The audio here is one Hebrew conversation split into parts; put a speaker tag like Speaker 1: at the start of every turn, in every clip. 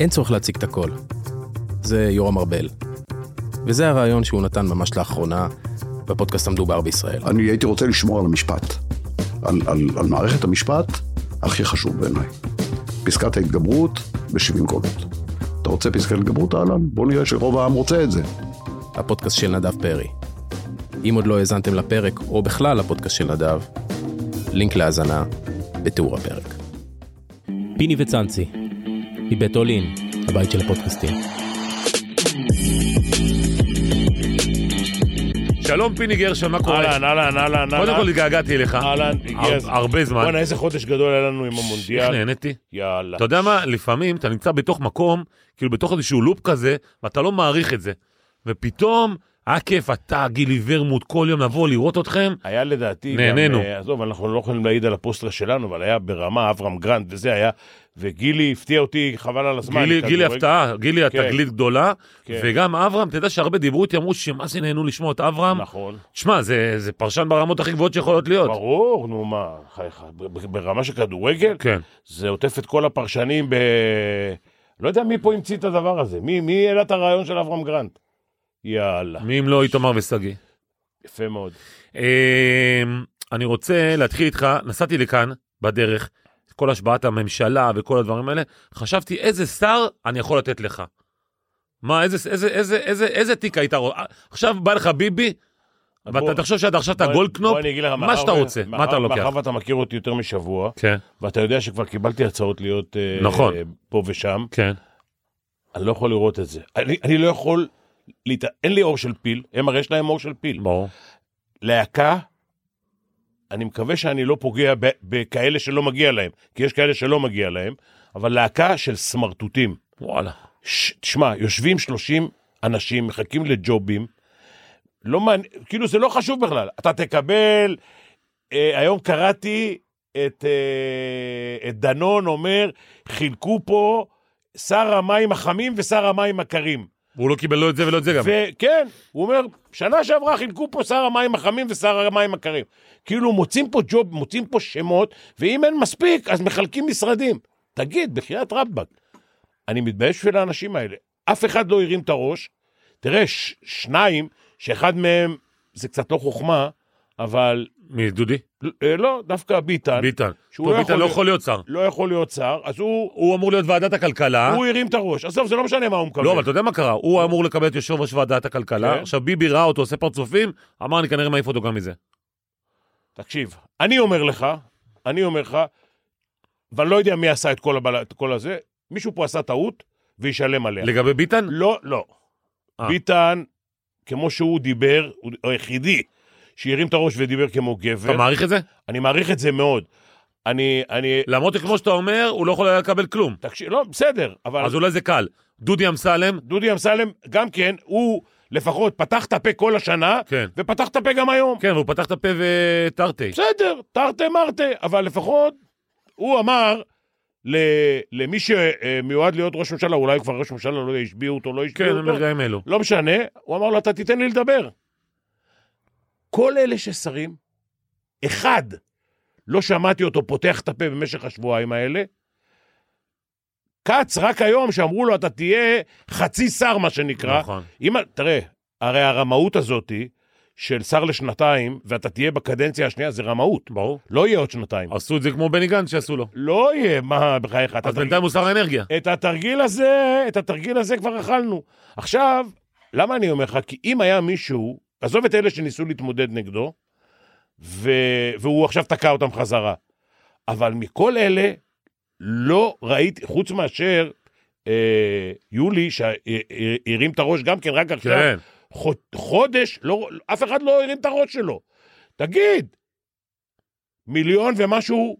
Speaker 1: אין צורך להציג את הכל. זה יורם ארבל. וזה הרעיון שהוא נתן ממש לאחרונה בפודקאסט המדובר בישראל.
Speaker 2: אני הייתי רוצה לשמור על המשפט, על, על, על מערכת המשפט הכי חשוב בעיניי. פסקת ההתגברות ב-70 קולות. אתה רוצה פסקת התגברות, אהלן? בוא נראה שרוב העם רוצה את זה.
Speaker 1: הפודקאסט של נדב פרי. אם עוד לא האזנתם לפרק, או בכלל לפודקאסט של נדב, לינק להאזנה בתיאור הפרק. פיני וצאנצי, מבית אולין, הבית של הפודקאסטים.
Speaker 3: שלום פיני גרשון, מה קורה?
Speaker 4: אהלן, אהלן, אהלן,
Speaker 3: קודם כל
Speaker 4: אהלן.
Speaker 3: התגעגעתי אליך.
Speaker 4: אהלן,
Speaker 3: הר-
Speaker 4: הגיע הזמן.
Speaker 3: הרבה זמן.
Speaker 4: בואנה, איזה חודש גדול היה לנו עם
Speaker 3: איך
Speaker 4: המונדיאל.
Speaker 3: נהניתי.
Speaker 4: יאללה.
Speaker 3: אתה יודע מה, לפעמים אתה נמצא בתוך מקום, כאילו בתוך איזשהו לופ כזה, ואתה לא מעריך את זה. ופתאום, היה כיף, אתה, גילי ורמוט, כל יום לבוא לראות אתכם.
Speaker 4: היה לדעתי, גם,
Speaker 3: נהנינו.
Speaker 4: אה, עזוב, אנחנו לא יכולים להעיד על הפוסטרה שלנו, אבל היה ברמה אברהם גרנד וזה היה, וגילי הפתיע אותי, חבל על הזמן.
Speaker 3: גילי, גילי
Speaker 4: כדורגל.
Speaker 3: הפתעה, גילי
Speaker 4: כן.
Speaker 3: התגלית גדולה.
Speaker 4: כן.
Speaker 3: וגם אברהם, אתה יודע שהרבה דיברו איתי, אמרו שמה זה נהנו לשמוע את אברהם.
Speaker 4: נכון.
Speaker 3: תשמע, זה, זה פרשן ברמות הכי גבוהות שיכולות להיות.
Speaker 4: ברור, נו מה, חייך, ב- ב- ברמה של כדורגל,
Speaker 3: כן.
Speaker 4: זה עוטף את כל הפרשנים ב... לא יודע מי פה המציא את הדבר הזה, מי מי העלה את הרעיון של אברהם גרנט? יאללה,
Speaker 3: מי אם לא איתמר ושגיא.
Speaker 4: יפה מאוד.
Speaker 3: אמ, אני רוצה להתחיל איתך, נסעתי לכאן בדרך, כל השבעת הממשלה וכל הדברים האלה, חשבתי איזה שר אני יכול לתת לך. מה, איזה, איזה, איזה, איזה, איזה תיק היית רוצה? עכשיו בא לך ביבי, ואתה
Speaker 4: בוא-
Speaker 3: תחשוב שאתה עכשיו אתה
Speaker 4: בוא-
Speaker 3: גולדקנופ,
Speaker 4: בוא אני אגיד לך,
Speaker 3: מה
Speaker 4: מאחר
Speaker 3: שאתה
Speaker 4: ו-
Speaker 3: רוצה, מה
Speaker 4: מאחר-
Speaker 3: אתה לוקח?
Speaker 4: מאחר ואתה מכיר אותי יותר משבוע,
Speaker 3: כן,
Speaker 4: ואתה יודע שכבר קיבלתי הצעות להיות אה,
Speaker 3: נכון.
Speaker 4: אה, פה ושם,
Speaker 3: כן.
Speaker 4: אני לא יכול לראות את זה. אני, אני לא יכול, להת... אין לי אור של פיל, הם הרי יש להם אור של פיל.
Speaker 3: ברור.
Speaker 4: להקה, אני מקווה שאני לא פוגע ב- בכאלה שלא מגיע להם, כי יש כאלה שלא מגיע להם, אבל להקה של סמרטוטים.
Speaker 3: וואלה.
Speaker 4: ש- תשמע, יושבים 30 אנשים, מחכים לג'ובים, לא מעניין, כאילו זה לא חשוב בכלל. אתה תקבל, אה, היום קראתי את, אה, את דנון אומר, חילקו פה שר המים החמים ושר המים הקרים.
Speaker 3: והוא לא קיבל לא את זה ולא את זה גם.
Speaker 4: וכן, הוא אומר, שנה שעברה חילקו פה שר המים החמים ושר המים הקרים. כאילו מוצאים פה ג'וב, מוצאים פה שמות, ואם אין מספיק, אז מחלקים משרדים. תגיד, בחייאת רבאק, אני מתבייש בשביל האנשים האלה. אף אחד לא הרים את הראש. תראה, ש- שניים, שאחד מהם, זה קצת לא חוכמה, אבל
Speaker 3: מי, דודי?
Speaker 4: אה, לא, דווקא ביטן,
Speaker 3: ביטן.
Speaker 4: שהוא
Speaker 3: טוב,
Speaker 4: לא
Speaker 3: ביטן
Speaker 4: יכול
Speaker 3: לא
Speaker 4: להיות-
Speaker 3: יכול להיות שר.
Speaker 4: לא יכול להיות שר, אז הוא,
Speaker 3: הוא אמור להיות ועדת הכלכלה.
Speaker 4: הוא הרים את הראש. עזוב, זה לא משנה מה הוא מקבל.
Speaker 3: אה? לא, אבל אתה יודע מה קרה, הוא אמור לקבל את יושב ראש ועדת הכלכלה,
Speaker 4: כן.
Speaker 3: עכשיו ביבי ראה אותו עושה פרצופים, אמר אני כנראה מעיף אותו גם מזה.
Speaker 4: תקשיב, אני אומר לך, אני אומר לך, ואני לא יודע מי עשה את כל, הבל... את כל הזה, מישהו פה עשה טעות וישלם עליה. לג...
Speaker 3: לגבי ביטן?
Speaker 4: כן. לא, לא.
Speaker 3: אה.
Speaker 4: ביטן, כמו שהוא דיבר, הוא היחידי שהרים את הראש ודיבר כמו גבר.
Speaker 3: אתה מעריך את זה?
Speaker 4: אני מעריך את זה מאוד. אני, אני,
Speaker 3: למרות שכמו שאתה אומר, הוא לא יכול היה לקבל כלום.
Speaker 4: תקשיב, לא, בסדר, אבל
Speaker 3: אז לא- אולי זה קל. דודי אמסלם,
Speaker 4: דודי אמסלם, גם כן, הוא לפחות פתח את הפה כל השנה,
Speaker 3: כן.
Speaker 4: ופתח את הפה גם היום.
Speaker 3: כן, והוא פתח את הפה ותרתי.
Speaker 4: כן. בסדר, תרתי מרתי, אבל לפחות הוא אמר ל, למי שמיועד להיות ראש ממשלה, אולי הוא כבר ראש ממשלה, לא יודע, השביעו אותו, לא
Speaker 3: כן,
Speaker 4: השביעו
Speaker 3: הם
Speaker 4: אותו,
Speaker 3: ברגעים אלו.
Speaker 4: לא משנה, הוא אמר לו, אתה תיתן לי לדבר. כל אלה ששרים, אחד, לא שמעתי אותו פותח את הפה במשך השבועיים האלה. כץ, רק היום שאמרו לו, אתה תהיה חצי שר, מה שנקרא,
Speaker 3: נכון.
Speaker 4: אם, תראה, הרי הרמאות הזאתי של שר לשנתיים, ואתה תהיה בקדנציה השנייה, זה רמאות.
Speaker 3: ברור.
Speaker 4: לא יהיה עוד שנתיים.
Speaker 3: עשו את זה כמו בני גנץ שעשו לו.
Speaker 4: לא יהיה, מה, בחייך, אתה
Speaker 3: אז
Speaker 4: תרגיל-
Speaker 3: בינתיים הוא שר האנרגיה.
Speaker 4: את התרגיל הזה, את התרגיל הזה כבר אכלנו. עכשיו, למה אני אומר לך? כי אם היה מישהו, עזוב את אלה שניסו להתמודד נגדו, ו... והוא עכשיו תקע אותם חזרה. אבל מכל אלה, לא ראיתי, חוץ מאשר אה, יולי, שהרים את הראש גם כן רק עכשיו,
Speaker 3: כן.
Speaker 4: חוד, חודש, לא, אף אחד לא הרים את הראש שלו. תגיד, מיליון ומשהו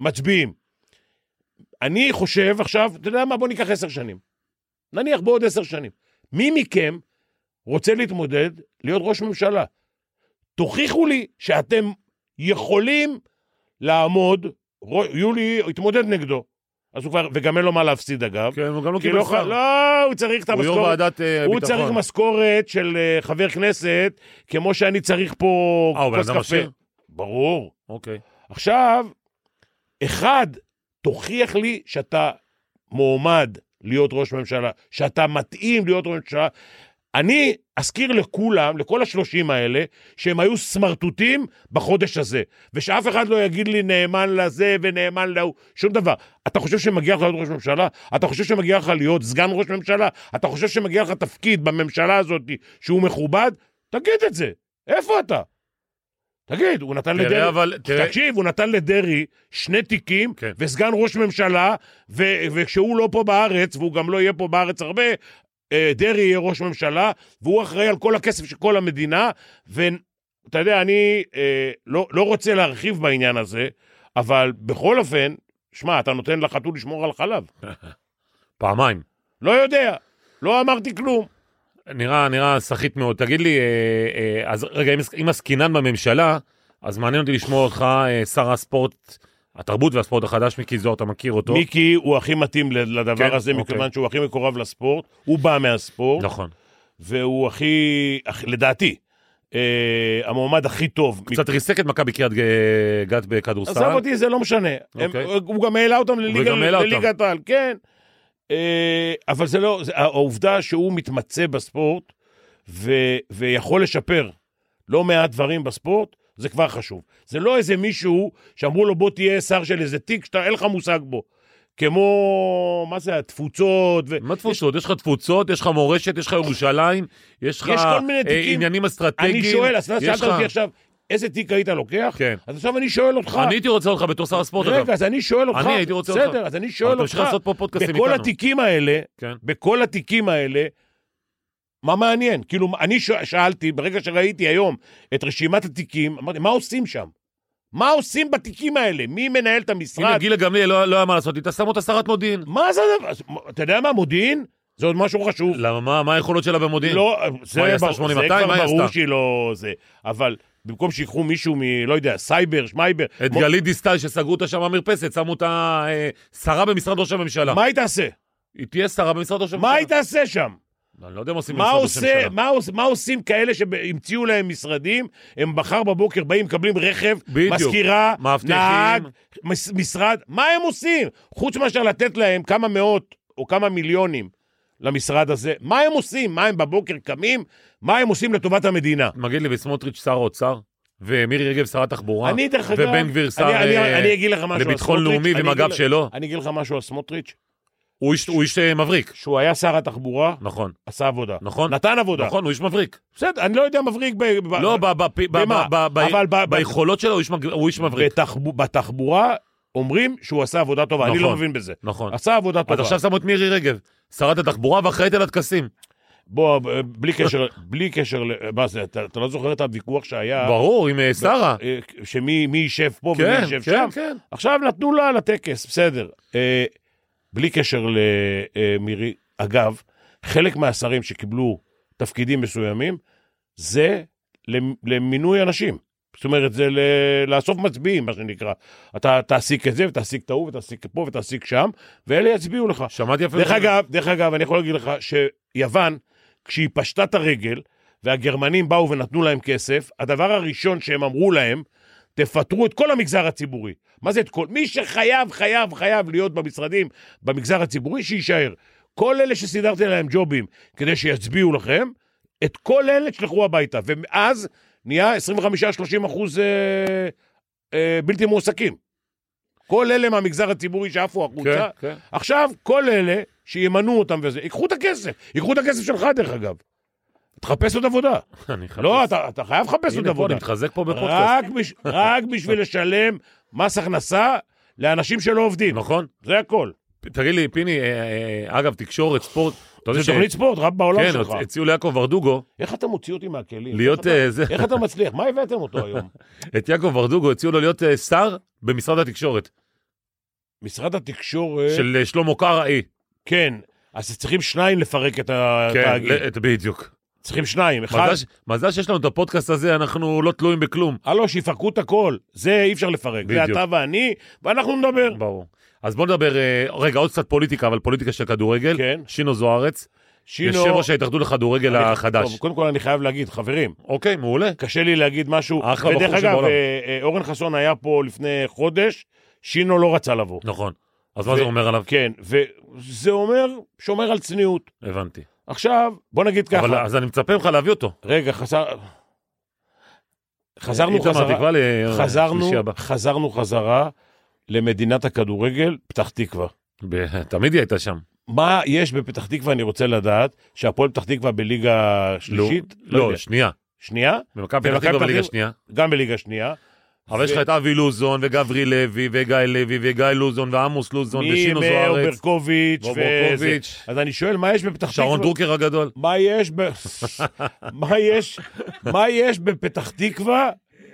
Speaker 4: מצביעים. אני חושב עכשיו, אתה יודע מה, בוא ניקח עשר שנים. נניח בעוד עשר שנים. מי מכם רוצה להתמודד להיות ראש ממשלה? תוכיחו לי שאתם יכולים לעמוד, רו- יולי התמודד נגדו. אז הוא כבר, וגם אין לו מה להפסיד אגב.
Speaker 3: כן, הוא גם לא
Speaker 4: כי
Speaker 3: קיבל
Speaker 4: לא,
Speaker 3: שר.
Speaker 4: לא, הוא צריך את
Speaker 3: הוא יו"ר
Speaker 4: המשכורת.
Speaker 3: ועדת אה,
Speaker 4: הוא
Speaker 3: ביטחון.
Speaker 4: צריך משכורת של אה, חבר כנסת, כמו שאני צריך פה
Speaker 3: אה, הוא בן
Speaker 4: כוס
Speaker 3: אדם
Speaker 4: קפה.
Speaker 3: עשיר?
Speaker 4: ברור.
Speaker 3: אוקיי.
Speaker 4: עכשיו, אחד, תוכיח לי שאתה מועמד להיות ראש ממשלה, שאתה מתאים להיות ראש ממשלה. אני אזכיר לכולם, לכל השלושים האלה, שהם היו סמרטוטים בחודש הזה, ושאף אחד לא יגיד לי נאמן לזה ונאמן להוא, שום דבר. אתה חושב שמגיע לך להיות ראש ממשלה? אתה חושב שמגיע לך להיות סגן ראש ממשלה? אתה חושב שמגיע לך תפקיד בממשלה הזאת שהוא מכובד? תגיד את זה, איפה אתה? תגיד, הוא נתן
Speaker 3: תראה,
Speaker 4: לדרעי,
Speaker 3: אבל- תראה-
Speaker 4: תקשיב, הוא נתן לדרעי שני תיקים,
Speaker 3: כן.
Speaker 4: וסגן ראש ממשלה, ו- וכשהוא לא פה בארץ, והוא גם לא יהיה פה בארץ הרבה, אה, דרעי יהיה ראש ממשלה, והוא אחראי על כל הכסף של כל המדינה, ואתה יודע, אני אה, לא, לא רוצה להרחיב בעניין הזה, אבל בכל אופן, שמע, אתה נותן לחתול לשמור על חלב.
Speaker 3: פעמיים.
Speaker 4: לא יודע, לא אמרתי כלום.
Speaker 3: נראה, נראה סחיט מאוד. תגיד לי, אה, אה, אז רגע, אם, אם עסקינן בממשלה, אז מעניין אותי לשמוע אותך, אה, שר הספורט, התרבות והספורט החדש, מיקי זוהר, אתה מכיר אותו.
Speaker 4: מיקי הוא הכי מתאים ל- לדבר
Speaker 3: כן,
Speaker 4: הזה,
Speaker 3: אוקיי.
Speaker 4: מכיוון שהוא הכי מקורב לספורט, הוא בא מהספורט.
Speaker 3: נכון.
Speaker 4: והוא הכי, הכי- לדעתי, אה, המועמד הכי טוב.
Speaker 3: קצת ריסק את מכבי קריית ג- גת בכדורסל.
Speaker 4: עזב אותי, זה לא משנה. הם,
Speaker 3: אוקיי.
Speaker 4: הוא גם העלה אותם לליגה-
Speaker 3: גם העלה אותם.
Speaker 4: לליגת העל, כן. אה, אבל זה לא, זה, העובדה שהוא מתמצא בספורט ו, ויכול לשפר לא מעט דברים בספורט, זה כבר חשוב. זה לא איזה מישהו שאמרו לו בוא תהיה שר של איזה תיק שאתה אין לך מושג בו. כמו, מה זה, התפוצות. ו...
Speaker 3: מה תפוצות? יש לך תפוצות, יש לך מורשת, יש לך ירושלים, יש לך
Speaker 4: יש כל מיני
Speaker 3: אה,
Speaker 4: תיקים.
Speaker 3: עניינים אסטרטגיים.
Speaker 4: אני שואל, אז אתה
Speaker 3: יש
Speaker 4: שאלת אותי
Speaker 3: לך-
Speaker 4: עכשיו, איזה תיק היית לוקח?
Speaker 3: כן.
Speaker 4: אז עכשיו אני שואל אותך.
Speaker 3: אני הייתי רוצה אותך בתור שר הספורט, אגב.
Speaker 4: רגע, אז אני שואל אותך.
Speaker 3: אני הייתי רוצה אותך.
Speaker 4: בסדר, אז אני שואל
Speaker 3: אבל
Speaker 4: אותך.
Speaker 3: תמשיך לעשות פה פודקאסטים
Speaker 4: בכל
Speaker 3: איתנו.
Speaker 4: התיקים האלה,
Speaker 3: כן.
Speaker 4: בכל התיקים האלה, מה מעניין? כאילו, אני ש- שאלתי, ברגע שראיתי היום את רשימת התיקים, אמרתי, מה עושים שם? מה עושים בתיקים האלה? מי מנהל את
Speaker 3: הנה,
Speaker 4: המשרד?
Speaker 3: גילה גמליאל לא לא היה מה לעשות, איתה שם אותה שרת מודיעין.
Speaker 4: מה זה הדבר? אז, אתה יודע מה, מודיעין? זה עוד משהו חשוב.
Speaker 3: למה, מה- מה היכולות שלה במודיעין?
Speaker 4: לא, זה,
Speaker 3: כן. מה, היא עשתה
Speaker 4: בר-
Speaker 3: 8200?
Speaker 4: זה
Speaker 3: מה
Speaker 4: כבר
Speaker 3: היא
Speaker 4: ברור
Speaker 3: עשתה?
Speaker 4: שהיא לא זה. אבל במקום שיקחו מישהו מ... לא יודע, סייבר, שמייבר.
Speaker 3: את
Speaker 4: מ-
Speaker 3: גלית דיסטל שסגרו אותה שם במרפסת, שמו אותה אה, שרה במשרד ראש הממשלה.
Speaker 4: מה היא תעשה?
Speaker 3: היא תהיה שרה במשרד ראש הממשלה.
Speaker 4: מה היא תעשה שם?
Speaker 3: אני לא יודע מה עושים
Speaker 4: מה,
Speaker 3: במשרד ראש
Speaker 4: עושה,
Speaker 3: הממשלה.
Speaker 4: מה, עוש- מה עושים כאלה שהמציאו להם משרדים, הם מחר בבוקר באים, מקבלים רכב,
Speaker 3: בדיוק.
Speaker 4: מזכירה,
Speaker 3: מאבטחים.
Speaker 4: נהג, מס, משרד, מה הם עושים? חוץ מאשר לתת להם כמה מאות או כמה מיליונים למשרד הזה, מה הם עושים? מה הם בבוקר קמים? מה הם עושים לטובת המדינה?
Speaker 3: מגיד לי, וסמוטריץ' שר האוצר? ומירי רגב שרת תחבורה?
Speaker 4: אני, דרך אגב,
Speaker 3: נכון. ובן גביר שר
Speaker 4: אני, אני,
Speaker 3: אה,
Speaker 4: אני אגיד לך משהו על
Speaker 3: לביטחון
Speaker 4: סמוטריץ'.
Speaker 3: לאומי
Speaker 4: אני
Speaker 3: ועם
Speaker 4: אגיד
Speaker 3: הגב
Speaker 4: לך-
Speaker 3: שלו?
Speaker 4: אני אגיד לך משהו על סמוטריץ',
Speaker 3: הוא איש- הוא איש אה, מבריק.
Speaker 4: שהוא היה שר התחבורה,
Speaker 3: נכון,
Speaker 4: עשה עבודה.
Speaker 3: נכון.
Speaker 4: נתן עבודה.
Speaker 3: נכון, הוא איש מבריק.
Speaker 4: בסדר, אני לא יודע מבריק ב... ב-
Speaker 3: לא, ב- ב- ב-
Speaker 4: במה?
Speaker 3: ב- ב-
Speaker 4: אבל ב- ב-
Speaker 3: ביכולות שלו הוא איש מג- הוא איש מבריק.
Speaker 4: בתחב... בתחבורה אומרים שהוא עשה עבודה טובה, אני
Speaker 3: נכון.
Speaker 4: לא מבין בזה.
Speaker 3: נכון.
Speaker 4: עשה עבודה
Speaker 3: אז
Speaker 4: טובה.
Speaker 3: עכשיו שמו את מירי רגב, שרת התחבורה ואחראית על הטקסים.
Speaker 4: אה. בוא, ב- בלי קשר, בלי קשר, ל- מה זה, אתה, אתה לא זוכר את הוויכוח שהיה?
Speaker 3: ברור, עם אה, שרה.
Speaker 4: אה, שמי מי יישב פה ומי
Speaker 3: כן,
Speaker 4: יישב
Speaker 3: כן,
Speaker 4: שם?
Speaker 3: כן.
Speaker 4: עכשיו נתנו לה לטקס, בסדר. אה, בלי קשר למירי, אגב, חלק מהשרים שקיבלו תפקידים מסוימים, זה למ- למינוי אנשים. זאת אומרת, זה ל- לאסוף מצביעים, מה שנקרא. אתה תעסיק את זה, ותעסיק את ההוא, ותעסיק פה, ותעסיק שם, ואלה יצביעו לך.
Speaker 3: שמעתי אפילו...
Speaker 4: דרך אגב, דרך אגב, אני יכול להגיד לך שיוון, כשהיא פשטה את הרגל, והגרמנים באו ונתנו להם כסף, הדבר הראשון שהם אמרו להם, תפטרו את כל המגזר הציבורי. מה זה את כל? מי שחייב, חייב, חייב להיות במשרדים במגזר הציבורי, שיישאר. כל אלה שסידרתי להם ג'ובים כדי שיצביעו לכם, את כל אלה תשלחו הביתה. ומאז נהיה 25-30 אחוז אה, אה, בלתי מועסקים. כל אלה מהמגזר הציבורי שעפו החוצה,
Speaker 3: כן, כן.
Speaker 4: עכשיו, כל אלה שימנו אותם וזה, ייקחו את הכסף. ייקחו את הכסף שלך, דרך אגב. תחפש עוד עבודה.
Speaker 3: אני חייב-
Speaker 4: לא, אתה, אתה חייב לחפש עוד
Speaker 3: הנה פה, אני
Speaker 4: עבודה.
Speaker 3: מתחזק פה בפודקאסט.
Speaker 4: רק, בש... רק בשביל לשלם מס הכנסה לאנשים שלא עובדים.
Speaker 3: נכון?
Speaker 4: זה הכל.
Speaker 3: תגיד לי, פיני, אה, אה, אגב, תקשורת, ספורט, אתה יודע
Speaker 4: זה
Speaker 3: ש...
Speaker 4: תוכנית ספורט, רק בעולם
Speaker 3: כן,
Speaker 4: שלך. כן.
Speaker 3: הציעו ליעקב ברדוגו
Speaker 4: איך אתה מוציא אותי מהכלים?
Speaker 3: להיות
Speaker 4: איך אתה-
Speaker 3: אה, זה...
Speaker 4: איך אתה מצליח? מה הבאתם אותו היום?
Speaker 3: את יעקב ברדוגו הציעו לו להיות אה, שר במשרד התקשורת,
Speaker 4: משרד התקשורת...
Speaker 3: של אה, שלמה קרעי.
Speaker 4: כן. אז צריכים שניים לפרק את
Speaker 3: כן,
Speaker 4: התאגיד.
Speaker 3: ל- את- בדיוק.
Speaker 4: צריכים שניים. אחד...
Speaker 3: מזל ש- מזל שיש לנו את הפודקאסט הזה, אנחנו לא תלויים בכלום.
Speaker 4: הלו, שיפרקו את הכל. זה אי אפשר לפרק. זה
Speaker 3: בדיוק.
Speaker 4: אתה ואני, ואנחנו נדבר.
Speaker 3: ברור. אז בוא נדבר, אה, רגע, עוד קצת פוליטיקה, אבל פוליטיקה של כדורגל.
Speaker 4: כן.
Speaker 3: שינו זוארץ,
Speaker 4: שינו...
Speaker 3: יושב ראש ההתאחדות לכדורגל
Speaker 4: אני-
Speaker 3: החדש.
Speaker 4: טוב, קודם כל אני חייב להגיד, חברים,
Speaker 3: אוקיי, מעולה.
Speaker 4: קשה לי להגיד משהו.
Speaker 3: אחלה בחור
Speaker 4: ודרך אגב,
Speaker 3: שבעולם.
Speaker 4: אה, אה, אורן חסון היה פה לפני חודש, שינו לא רצה לבוא.
Speaker 3: נכון. אז מה זה אומר עליו?
Speaker 4: כן, וזה אומר, שומר על צניעות.
Speaker 3: הבנתי.
Speaker 4: עכשיו, בוא נגיד ככה.
Speaker 3: אבל אז אני מצפה ממך להביא אותו.
Speaker 4: רגע, חזר... חזרנו
Speaker 3: איתמר,
Speaker 4: חזרה,
Speaker 3: תקבע לי, אה,
Speaker 4: חזרנו,
Speaker 3: שלישי הבא.
Speaker 4: חזרנו חזרה למדינת הכדורגל, פתח תקווה.
Speaker 3: ב- תמיד היא הייתה שם. לא-
Speaker 4: מה יש בפתח תקווה, אני רוצה לדעת, שהפועל פתח תקווה בליגה שלישית?
Speaker 3: לא,
Speaker 4: יודע.
Speaker 3: לא שנייה.
Speaker 4: שנייה?
Speaker 3: במכבי פתח
Speaker 4: במכבי
Speaker 3: תקווה
Speaker 4: פתח
Speaker 3: בליגה
Speaker 4: תקווה.
Speaker 3: שנייה.
Speaker 4: גם בליגה שנייה.
Speaker 3: אבל יש לך את אבי לוזון, וגברי לוי, וגיא לוי, וגיא לוזון, ועמוס לוזון, נכון, ושינו
Speaker 4: מאיר
Speaker 3: זוארץ,
Speaker 4: ברקוביץ'
Speaker 3: בוב
Speaker 4: וזה.
Speaker 3: ברקוביץ',
Speaker 4: אז אני שואל, מה יש בפתח
Speaker 3: שרון
Speaker 4: תקווה?
Speaker 3: דרוקר הגדול.
Speaker 4: מה יש ב... מה יש... מה יש בפתח תקווה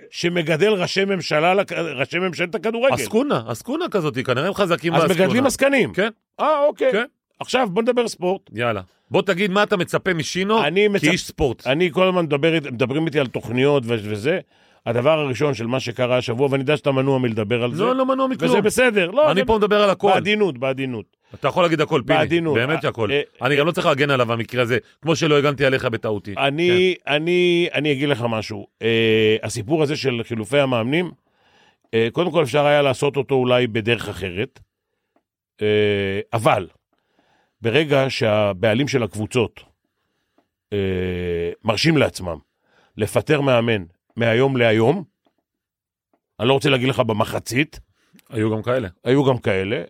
Speaker 4: שמגדל ראשי ממשלה, לכ- ראשי ממשלת הכדורגל?
Speaker 3: אסקונה, אסקונה כזאת, כנראה הם חזקים
Speaker 4: אז מגדלים עסקנים.
Speaker 3: כן,
Speaker 4: אה, אוקיי.
Speaker 3: כן.
Speaker 4: עכשיו בוא נדבר ספורט.
Speaker 3: יאללה. בוא תגיד מה אתה מצפה משינו
Speaker 4: אני מצפ-
Speaker 3: כאיש ספורט.
Speaker 4: אני כל הזמן מדבר, אית- מדברים איתי על תוכניות ו- וזה. הדבר הראשון של מה שקרה השבוע, ואני יודע שאתה מנוע מלדבר על זה.
Speaker 3: לא, לא מנוע
Speaker 4: וזה
Speaker 3: מכלום.
Speaker 4: בסדר. לא,
Speaker 3: אני
Speaker 4: זה-
Speaker 3: פה מדבר על הכל.
Speaker 4: בעדינות, בעדינות.
Speaker 3: אתה יכול להגיד הכל, פיני.
Speaker 4: בעדינות.
Speaker 3: באמת שהכל.
Speaker 4: אה,
Speaker 3: אני גם לא צריך להגן עליו במקרה הזה, כמו שלא הגנתי עליך בטעותי. כן.
Speaker 4: אני, אני, אני אגיד לך משהו. אה, הסיפור הזה של חילופי המאמנים, אה, קודם כל אפשר היה לעשות אותו אולי בדרך אחרת, אה, אבל ברגע שהבעלים של הקבוצות אה, מרשים לעצמם לפטר מאמן מהיום להיום, אני לא רוצה להגיד לך במחצית,
Speaker 3: היו גם כאלה.
Speaker 4: היו גם כאלה,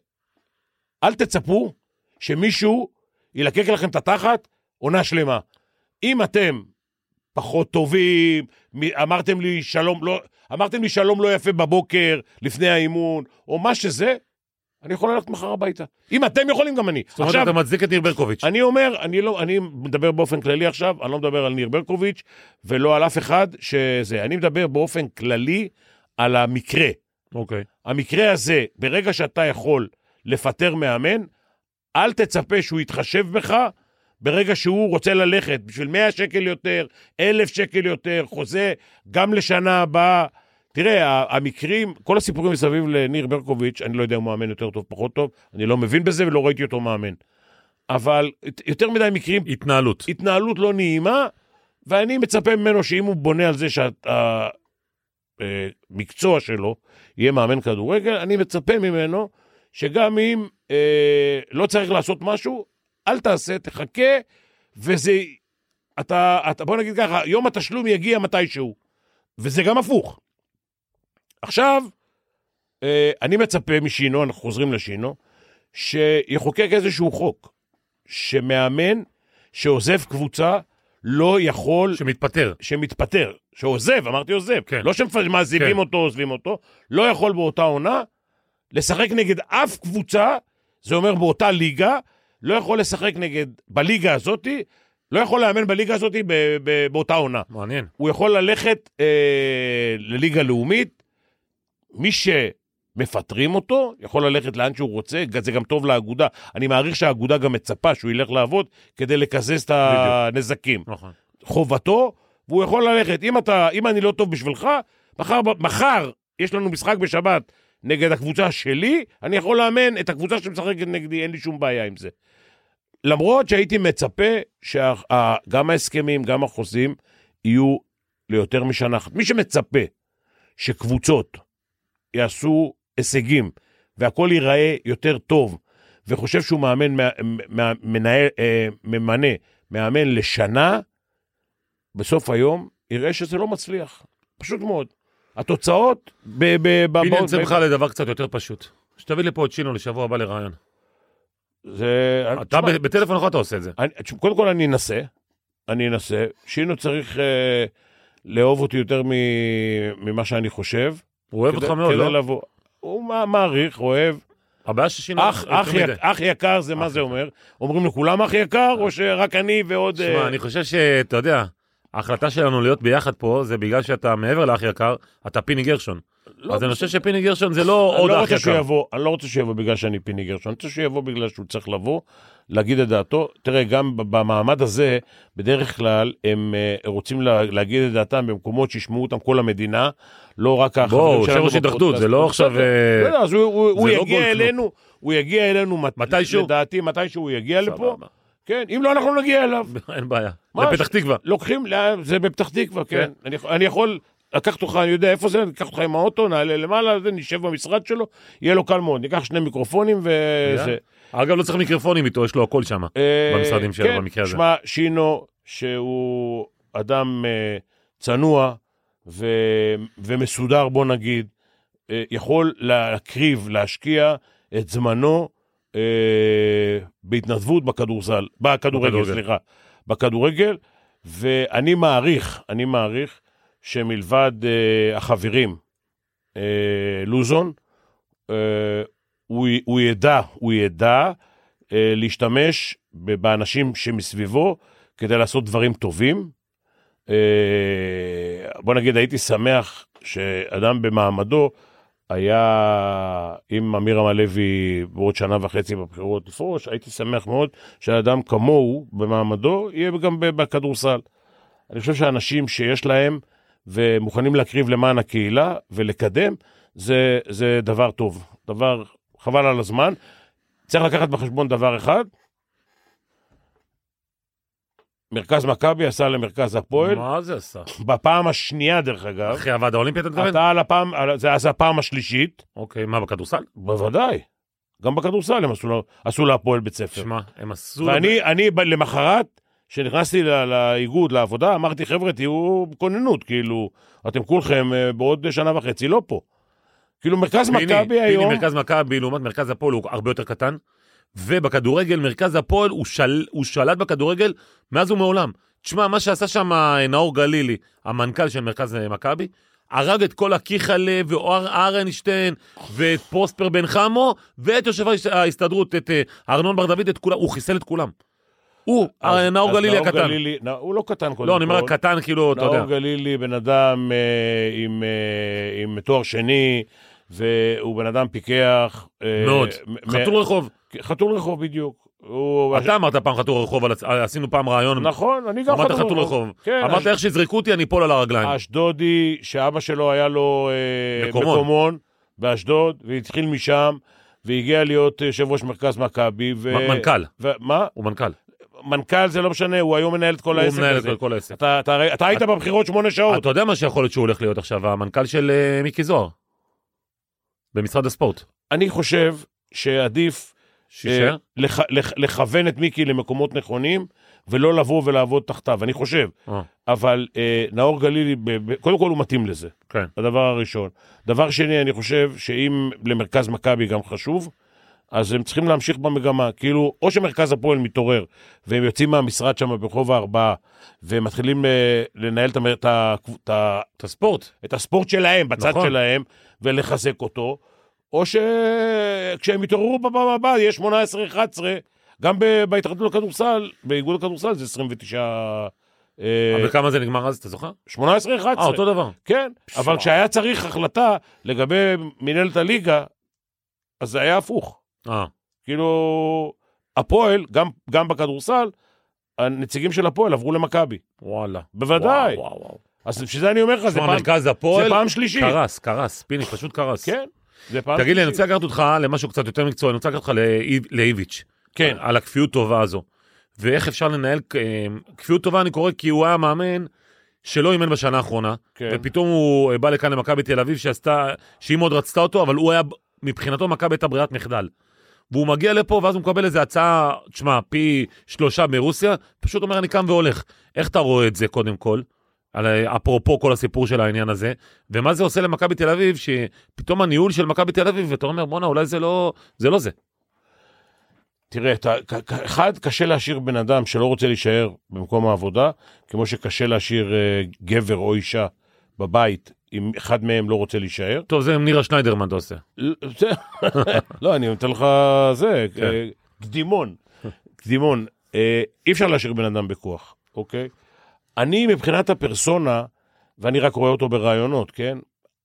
Speaker 4: אל תצפו שמישהו ילקק לכם את התחת עונה שלמה. אם אתם פחות טובים, מ- אמרתם לי שלום לא, אמרתם לי שלום לא יפה בבוקר, לפני האימון, או מה שזה, אני יכול ללכת מחר הביתה. אם אתם יכולים, גם אני.
Speaker 3: זאת אומרת, אתה מצדיק את ניר ברקוביץ'.
Speaker 4: אני אומר, אני, לא, אני מדבר באופן כללי עכשיו, אני לא מדבר על ניר ברקוביץ' ולא על אף אחד שזה. אני מדבר באופן כללי על המקרה.
Speaker 3: אוקיי.
Speaker 4: המקרה הזה, ברגע שאתה יכול לפטר מאמן, אל תצפה שהוא יתחשב בך ברגע שהוא רוצה ללכת בשביל 100 שקל יותר, 1,000 שקל יותר, חוזה גם לשנה הבאה. תראה, ה- המקרים, כל הסיפורים מסביב לניר ברקוביץ', אני לא יודע אם הוא מאמן יותר טוב, פחות טוב, אני לא מבין בזה ולא ראיתי אותו מאמן. אבל יותר מדי מקרים
Speaker 3: התנהלות.
Speaker 4: התנהלות לא נעימה, ואני מצפה ממנו שאם הוא בונה על זה שהמקצוע שלו יהיה מאמן כדורגל, אני מצפה ממנו שגם אם אה, לא צריך לעשות משהו, אל תעשה, תחכה, וזה... אתה, אתה, בוא נגיד ככה, יום התשלום יגיע מתישהו, וזה גם הפוך. עכשיו, אה, אני מצפה משינו, אנחנו חוזרים לשינו, שיחוקק איזשהו חוק, שמאמן שעוזב קבוצה לא יכול, ש...
Speaker 3: שמתפטר.
Speaker 4: שמתפטר, שעוזב, אמרתי עוזב,
Speaker 3: כן.
Speaker 4: לא שמעזיבים
Speaker 3: כן.
Speaker 4: כן. אותו, עוזבים אותו, לא יכול באותה עונה לשחק נגד אף קבוצה, זה אומר באותה ליגה, לא יכול לשחק נגד, בליגה הזאתי, לא יכול לאמן בליגה הזאתי ב, ב, באותה עונה.
Speaker 3: מעניין.
Speaker 4: הוא יכול ללכת אה, לליגה לאומית, מי שמפטרים אותו, יכול ללכת לאן שהוא רוצה, זה גם טוב לאגודה. אני מעריך שהאגודה גם מצפה שהוא ילך לעבוד כדי לקזז את הנזקים.
Speaker 3: נכון.
Speaker 4: חובתו, והוא יכול ללכת. אם, אתה, אם אני לא טוב בשבילך, מחר, ב- מחר יש לנו משחק בשבת נגד הקבוצה שלי, אני יכול לאמן את הקבוצה שמשחקת נגדי, אין לי שום בעיה עם זה. למרות שהייתי מצפה שגם ההסכמים, גם החוזים, יהיו ליותר משנה אחת. מי שמצפה שקבוצות יעשו הישגים והכל ייראה יותר טוב, וחושב שהוא מאמן, מה- מה- מנהל, אה, ממנה מאמן לשנה, בסוף היום יראה שזה לא מצליח. פשוט מאוד. התוצאות ב... ב... ב...
Speaker 3: פיני,
Speaker 4: ב-
Speaker 3: אני רוצה
Speaker 4: ב-
Speaker 3: ממך לדבר קצת יותר פשוט. שתביא לפה את שינו לשבוע הבא לרעיון.
Speaker 4: זה...
Speaker 3: אתה
Speaker 4: אה, תשמע,
Speaker 3: ב- בטלפון אחד אתה עושה את זה.
Speaker 4: אני, תשמע, קודם כל אני אנסה, אני אנסה. שינו צריך אה, לאהוב אותי יותר מ, ממה שאני חושב.
Speaker 3: הוא אוהב
Speaker 4: כדי-
Speaker 3: אותך מאוד,
Speaker 4: כדי
Speaker 3: לא?
Speaker 4: לבוא. הוא מה- מעריך, אוהב.
Speaker 3: הבעיה ששינו...
Speaker 4: אח,
Speaker 3: לא,
Speaker 4: אה,
Speaker 3: יותר
Speaker 4: אח,
Speaker 3: מדי.
Speaker 4: יק, אח יקר זה מה
Speaker 3: אח
Speaker 4: זה
Speaker 3: יקר.
Speaker 4: אומר? אומרים לכולם אח יקר, או שרק אני ועוד...
Speaker 3: שמע,
Speaker 4: אה,
Speaker 3: אני חושב שאתה יודע, ההחלטה שלנו להיות ביחד פה זה בגלל שאתה מעבר לאח יקר, אתה פיני גרשון.
Speaker 4: לא,
Speaker 3: אז אני חושב שפיני גרשון זה לא
Speaker 4: אני
Speaker 3: עוד
Speaker 4: לא
Speaker 3: האח
Speaker 4: רוצה שהוא
Speaker 3: יקר.
Speaker 4: יבוא, אני לא רוצה שהוא יבוא בגלל שאני פיני גרשון, אני רוצה שהוא יבוא בגלל שהוא צריך לבוא, להגיד את דעתו. תראה, גם ב- במעמד הזה, בדרך כלל הם אה, רוצים לה, להגיד את דעתם במקומות שישמעו אותם כל המדינה, לא רק החברים
Speaker 3: בואו,
Speaker 4: שלנו.
Speaker 3: יושב ראש
Speaker 4: בפודקאסט.
Speaker 3: התאחדות, זה לא עכשיו... אה,
Speaker 4: בסדר, אז הוא- הוא הוא
Speaker 3: זה לא
Speaker 4: יגיע
Speaker 3: גולדקנופ.
Speaker 4: אלינו, הוא יגיע אלינו, מת-
Speaker 3: מתישהו?
Speaker 4: לדעתי, מתישהו הוא יגיע לפה.
Speaker 3: סבבה.
Speaker 4: כן, אם לא, אנחנו נגיע אליו.
Speaker 3: אין בעיה.
Speaker 4: מה?
Speaker 3: לפתח תקווה.
Speaker 4: לוקחים, לא, זה בפתח תקווה, כן.
Speaker 3: כן.
Speaker 4: אני, יכול- אני יכול לקחת אותך, אני יודע איפה זה, ניקח אותך עם האוטו, נעלה למעלה, זה, נשב במשרד שלו, יהיה לו קל מאוד, ניקח שני מיקרופונים וזה.
Speaker 3: אגב, לא צריך מיקרופונים איתו, יש לו הכל שם.
Speaker 4: אה,
Speaker 3: במשרדים שלו, במקרה הזה.
Speaker 4: כן, שמע, שינו, שהוא אדם אה, צנוע ו... ומסודר, בוא נגיד, אה, יכול להקריב, להשקיע את זמנו אה, בהתנדבות בכדורסל, בכדורגל,
Speaker 3: בכדורגל.
Speaker 4: סליחה, בכדורגל, ואני מעריך, אני מעריך שמלבד אה, החברים, אה, לוזון, אה, הוא, י- הוא ידע, הוא ידע אה, להשתמש ב- באנשים שמסביבו כדי לעשות דברים טובים. אה, בוא נגיד, הייתי שמח שאדם במעמדו היה, אם אמירם הלוי בעוד שנה וחצי בבחירות לפרוש, הייתי שמח מאוד שאדם כמוהו במעמדו יהיה גם ב- בכדורסל. אני חושב שאנשים שיש להם ומוכנים להקריב למען הקהילה ולקדם, זה, זה דבר טוב, דבר חבל על הזמן. צריך לקחת בחשבון דבר אחד, מרכז מכבי עשה למרכז הפועל,
Speaker 3: מה זה עשה?
Speaker 4: בפעם השנייה דרך אגב,
Speaker 3: אחרי הוועד האולימפי אתה מתכוון?
Speaker 4: אתה על הפעם, על- זה אז הפעם השלישית,
Speaker 3: אוקיי, מה, בכדורסל?
Speaker 4: בוודאי, גם בכדורסל הם עשו לה- עשו להפועל בית ספר.
Speaker 3: שמע, הם עשו...
Speaker 4: ואני אני ב- למחרת, כשנכנסתי ל- לאיגוד, לעבודה, אמרתי, חבר'ה, תהיו בכוננות, כאילו, אתם כולכם אה, בעוד שנה וחצי לא פה. כאילו, מרכז
Speaker 3: פיני,
Speaker 4: מכבי
Speaker 3: פיני,
Speaker 4: היום,
Speaker 3: מרכז מכבי לעומת מרכז הפועל הוא הרבה יותר קטן, ובכדורגל מרכז הפועל הוא, של... הוא שלט בכדורגל מאז ומעולם. תשמע, מה שעשה שם אה, נאור גלילי, המנכ"ל של מרכז אה, מכבי, הרג את כל הקיחלה ואור ארנשטיין ואת פרוספר בן חמו ואת יושב ההס- ההסתדרות, את אה, ארנון בר דוד, את כולם, הוא חיסל את כולם. הוא, אה,
Speaker 4: אז-
Speaker 3: נאור
Speaker 4: אז
Speaker 3: גלילי הקטן.
Speaker 4: גלילי- נא- הוא לא קטן קודם כל.
Speaker 3: לא, אני אומר רק קטן, כאילו, אתה יודע.
Speaker 4: נאור גלילי בן אדם אה, עם, אה, עם תואר שני, והוא בן אדם פיקח. אה,
Speaker 3: מאוד.
Speaker 4: מ-
Speaker 3: חתול רחוב.
Speaker 4: חתול רחוב בדיוק. הוא...
Speaker 3: אתה אמרת פעם חתול רחוב, על הצ- עשינו פעם רעיון
Speaker 4: נכון, אני גם
Speaker 3: אמרת חתול רחוב.
Speaker 4: כן,
Speaker 3: אמרת
Speaker 4: אש-
Speaker 3: איך שיזרקו אותי, אני אפול על הרגליים.
Speaker 4: האשדודי, שאבא שלו היה לו אה,
Speaker 3: מקומון.
Speaker 4: מקומון באשדוד, והתחיל משם, והגיע להיות יושב ראש מרכז מכבי. ו-
Speaker 3: מ- מנכ"ל.
Speaker 4: ו- מה?
Speaker 3: הוא מנכ"ל.
Speaker 4: מנכ"ל זה לא משנה, הוא היום מנהל את כל
Speaker 3: הוא
Speaker 4: העסק
Speaker 3: מנהל את
Speaker 4: הזה.
Speaker 3: כל- כל העסק.
Speaker 4: אתה, לא- אתה, הרי- אתה היית בבחירות שמונה שעות.
Speaker 3: אתה יודע מה שיכול להיות שהוא הולך להיות עכשיו, המנכ"ל של אה, מיקי זוהר. במשרד הספורט.
Speaker 4: אני חושב שעדיף
Speaker 3: שישאר?
Speaker 4: אה, לח, לח, לכוון את מיקי למקומות נכונים, ולא לבוא ולעבוד תחתיו, אני חושב.
Speaker 3: אה,
Speaker 4: אבל אה, נאור גלילי, ב, ב, קודם כל הוא מתאים לזה.
Speaker 3: כן.
Speaker 4: הדבר הראשון. דבר שני, אני חושב שאם למרכז מכבי גם חשוב, אז הם צריכים להמשיך במגמה. כאילו, או שמרכז הפועל מתעורר, והם יוצאים מהמשרד שם ברחוב הארבעה, והם מתחילים אה, לנהל את, המ- את, ה- את, ה-
Speaker 3: את הספורט.
Speaker 4: את הספורט שלהם, בצד
Speaker 3: נכון.
Speaker 4: נכון. שלהם, ולחזק אותו, או שכשהם יתעוררו בפעם הבאה, יהיה 18-11, גם ב- בהתאחדות לכדורסל, באיגוד הכדורסל זה 29... אה,
Speaker 3: וכמה זה נגמר אז, אתה זוכר?
Speaker 4: 18-11.
Speaker 3: אה, אותו דבר.
Speaker 4: כן, אבל כשהיה צריך החלטה לגבי מנהלת הליגה, אז זה היה הפוך.
Speaker 3: אה,
Speaker 4: כאילו, הפועל, גם, גם בכדורסל, הנציגים של הפועל עברו למכבי.
Speaker 3: וואלה.
Speaker 4: בוודאי.
Speaker 3: וואו, וואו, וואו.
Speaker 4: אז בשביל זה אני אומר לך, זה
Speaker 3: תשמע,
Speaker 4: פעם,
Speaker 3: מרכז
Speaker 4: זה
Speaker 3: הפועל
Speaker 4: פעם שלישית.
Speaker 3: קרס, קרס. פיני, פשוט קרס.
Speaker 4: כן, זה פעם
Speaker 3: תגיד לי, אני
Speaker 4: שלישית.
Speaker 3: רוצה לקחת אותך למשהו קצת יותר מקצועי, אני רוצה לקחת אותך לאיב- לאיביץ'.
Speaker 4: כן.
Speaker 3: על הכפיות טובה הזו. ואיך אפשר לנהל, אה, כפיות טובה אני קורא כי הוא היה מאמן שלא אימן בשנה האחרונה,
Speaker 4: כן.
Speaker 3: ופתאום הוא אה, בא לכאן למכבי תל אביב שעשתה, שהיא מאוד רצתה אותו, אבל הוא היה, מבחינתו מכבי הייתה ברירת מחדל. והוא מגיע לפה ואז הוא מקבל איזה הצעה, תשמע, פי שלושה מרוסיה, פשוט אומר אני קם והולך. איך אתה רואה את זה קודם כל? על, אה, אפרופו כל הסיפור של העניין הזה, ומה זה עושה למכבי תל אביב, שפתאום הניהול של מכבי תל אביב, ואתה אומר, בואנה, אולי זה לא זה. לא זה.
Speaker 4: תראה, אתה, כ- כ- אחד, קשה להשאיר בן אדם שלא רוצה להישאר במקום העבודה, כמו שקשה להשאיר אה, גבר או אישה בבית, אם אחד מהם לא רוצה להישאר.
Speaker 3: טוב, זה עם נירה שניידרמן אתה עושה.
Speaker 4: לא, זה- לא, אני נותן לך זה,
Speaker 3: כן.
Speaker 4: אה, קדימון. קדימון, אה, אי אפשר להשאיר בן אדם בכוח, אוקיי? אני מבחינת הפרסונה, ואני רק רואה אותו ברעיונות, כן?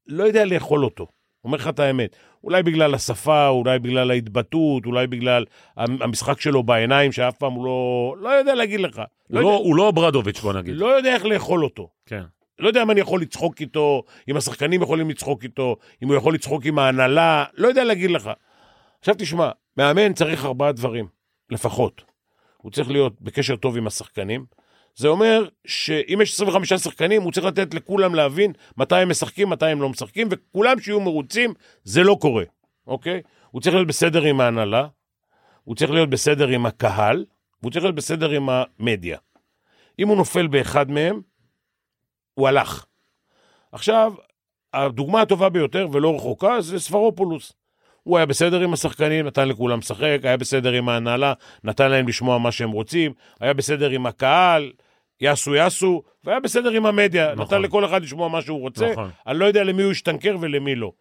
Speaker 4: לא יודע לאכול אותו, אומר לך את האמת. אולי בגלל השפה, אולי בגלל ההתבטאות, אולי בגלל המ- המשחק שלו בעיניים, שאף פעם הוא לא... לא יודע להגיד לך.
Speaker 3: הוא
Speaker 4: לא,
Speaker 3: לא-
Speaker 4: יודע,
Speaker 3: הוא לא ברדוביץ', בוא נגיד.
Speaker 4: לא יודע איך לאכול אותו.
Speaker 3: כן.
Speaker 4: לא יודע אם אני יכול לצחוק איתו, אם השחקנים יכולים לצחוק איתו, אם הוא יכול לצחוק עם ההנהלה, לא יודע להגיד לך. עכשיו תשמע, מאמן צריך ארבעה דברים, לפחות. הוא צריך להיות בקשר טוב עם השחקנים, זה אומר שאם יש 25 שחקנים, הוא צריך לתת לכולם להבין מתי הם משחקים, מתי הם לא משחקים, וכולם שיהיו מרוצים, זה לא קורה, אוקיי? הוא צריך להיות בסדר עם ההנהלה, הוא צריך להיות בסדר עם הקהל, והוא צריך להיות בסדר עם המדיה. אם הוא נופל באחד מהם, הוא הלך. עכשיו, הדוגמה הטובה ביותר, ולא רחוקה, זה ספרופולוס. הוא היה בסדר עם השחקנים, נתן לכולם לשחק, היה בסדר עם ההנהלה, נתן להם לשמוע מה שהם רוצים, היה בסדר עם הקהל, יעשו יעשו, והיה בסדר עם המדיה, נכון. נתן לכל אחד לשמוע מה שהוא רוצה,
Speaker 3: נכון.
Speaker 4: נכון. אני לא יודע למי הוא השתנקר ולמי לא.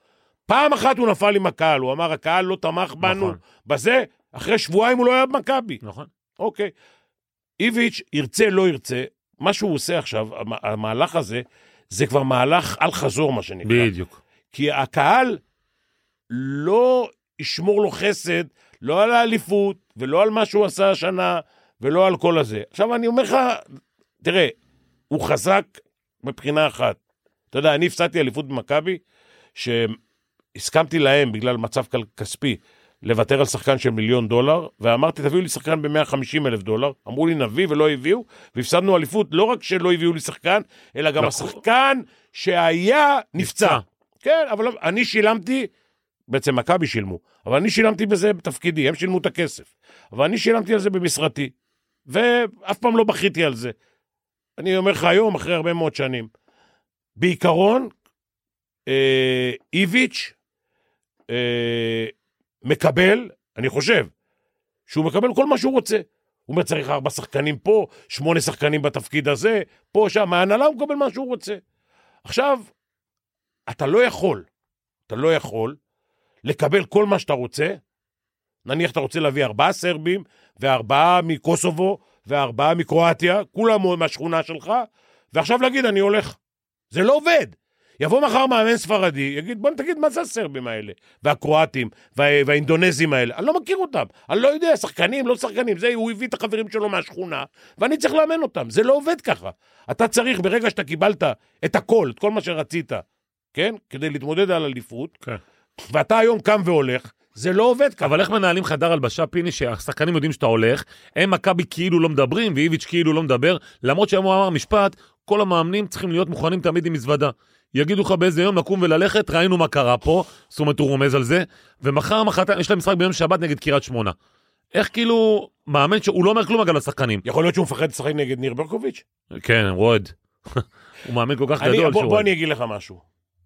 Speaker 4: פעם אחת הוא נפל עם הקהל, הוא אמר, הקהל לא תמך בנו
Speaker 3: נכון.
Speaker 4: נכון. בזה, אחרי שבועיים הוא לא היה במכבי.
Speaker 3: נכון.
Speaker 4: אוקיי. איביץ', ירצה, לא ירצה, מה שהוא עושה עכשיו, המ- המהלך הזה, זה כבר מהלך על חזור, מה שנקרא.
Speaker 3: בדיוק.
Speaker 4: כי הקהל לא ישמור לו חסד, לא על האליפות, ולא על מה שהוא עשה השנה, ולא על כל הזה. עכשיו, אני אומר לך, תראה, הוא חזק מבחינה אחת. אתה יודע, אני הפסדתי אליפות במכבי, שהסכמתי להם, בגלל מצב כל- כספי, לוותר על שחקן של מיליון דולר, ואמרתי, תביאו לי שחקן ב-150 אלף דולר. אמרו לי, נביא, ולא הביאו, והפסדנו אליפות, לא רק שלא הביאו לי שחקן, אלא גם
Speaker 3: לקחו-
Speaker 4: השחקן שהיה נפצע.
Speaker 3: נפצע.
Speaker 4: כן, אבל אני שילמתי, בעצם מכבי שילמו, אבל אני שילמתי בזה בתפקידי, הם שילמו את הכסף. אבל אני שילמתי על זה במשרתי, ואף פעם לא בכיתי על זה. אני אומר לך היום, אחרי הרבה מאוד שנים. בעיקרון, אה, איביץ' אה, מקבל, אני חושב, שהוא מקבל כל מה שהוא רוצה. הוא אומר, צריך ארבע שחקנים פה, שמונה שחקנים בתפקיד הזה, פה, שם, מההנהלה הוא מקבל מה שהוא רוצה. עכשיו, אתה לא יכול, אתה לא יכול לקבל כל מה שאתה רוצה. נניח אתה רוצה להביא ארבעה סרבים, וארבעה מקוסובו, וארבעה מקרואטיה, כולם מהשכונה שלך, ועכשיו להגיד, אני הולך. זה לא עובד. יבוא מחר מאמן ספרדי, יגיד, בוא תגיד מה זה הסרבים האלה, והקרואטים, וה... והאינדונזים האלה. אני לא מכיר אותם, אני לא יודע, שחקנים, לא שחקנים, זה, הוא הביא את החברים שלו מהשכונה, ואני צריך לאמן אותם. זה לא עובד ככה. אתה צריך, ברגע שאתה קיבלת את הכל, את כל מה שרצית, כן? כדי להתמודד על אליפות,
Speaker 3: כן.
Speaker 4: ואתה היום קם והולך, זה לא עובד ככה.
Speaker 3: אבל איך מנהלים חדר הלבשה, פיני, שהשחקנים יודעים שאתה הולך, הם מכבי כאילו לא מדברים, ואיביץ' כאילו לא מדבר, למרות שהיום הוא אמר משפט, כל המאמנים צריכים להיות מוכנים תמיד עם מזוודה. יגידו לך באיזה יום לקום וללכת, ראינו מה קרה פה, זאת אומרת הוא רומז על זה, ומחר, מחרתיים, יש להם משחק ביום שבת נגד קריית שמונה. איך כאילו, מאמן שהוא לא אומר כלום אגב לשחקנים.
Speaker 4: יכול להיות שהוא מפחד לשחק נגד ניר ברקוביץ'?
Speaker 3: כן, הוא אוהד. הוא מאמן כל כך
Speaker 4: אני,
Speaker 3: גדול
Speaker 4: בוא,
Speaker 3: שהוא
Speaker 4: בוא
Speaker 3: אוהד.
Speaker 4: אני אגיד לך משהו.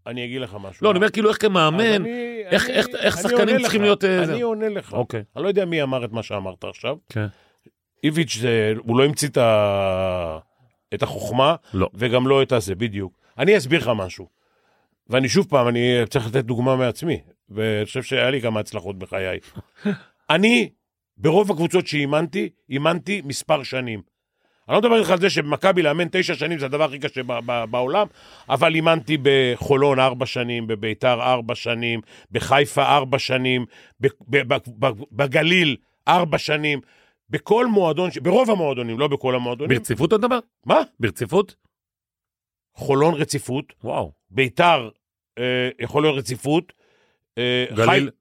Speaker 4: אני אגיד לך משהו.
Speaker 3: לא, אני אומר כאילו איך
Speaker 4: אז
Speaker 3: כמאמן,
Speaker 4: אני-
Speaker 3: איך-
Speaker 4: אני-
Speaker 3: איך- איך
Speaker 4: אני
Speaker 3: שחקנים
Speaker 4: עונה
Speaker 3: צריכים
Speaker 4: לך,
Speaker 3: להיות, אה,
Speaker 4: אני
Speaker 3: זה.
Speaker 4: עונה לך.
Speaker 3: אוקיי.
Speaker 4: אני לא יודע מי אמר את מה שאמרת עכשיו.
Speaker 3: כן.
Speaker 4: איביץ', זה- הוא לא המציא את ה- את החוכמה,
Speaker 3: לא.
Speaker 4: וגם לא את הזה, בדיוק. אני אסביר לך משהו. ואני שוב פעם, אני צריך לתת דוגמה מעצמי, ואני חושב שהיה לי כמה הצלחות בחיי. אני, ברוב הקבוצות שאימנתי, אימנתי מספר שנים. אני לא מדבר איתך על זה שבמכבי לאמן תשע שנים זה הדבר הכי קשה ב- ב- בעולם, אבל אימנתי בחולון ארבע שנים, בביתר ארבע שנים, בחיפה ארבע שנים, ב- ב- ב- ב- בגליל ארבע שנים, בכל מועדון, ש- ברוב המועדונים, לא בכל המועדונים.
Speaker 3: ברציפות אתה מדבר?
Speaker 4: מה?
Speaker 3: ברציפות?
Speaker 4: חולון רציפות,
Speaker 3: וואו.
Speaker 4: ביתר, אה, יכול להיות רציפות. אה,
Speaker 3: גליל?
Speaker 4: חי-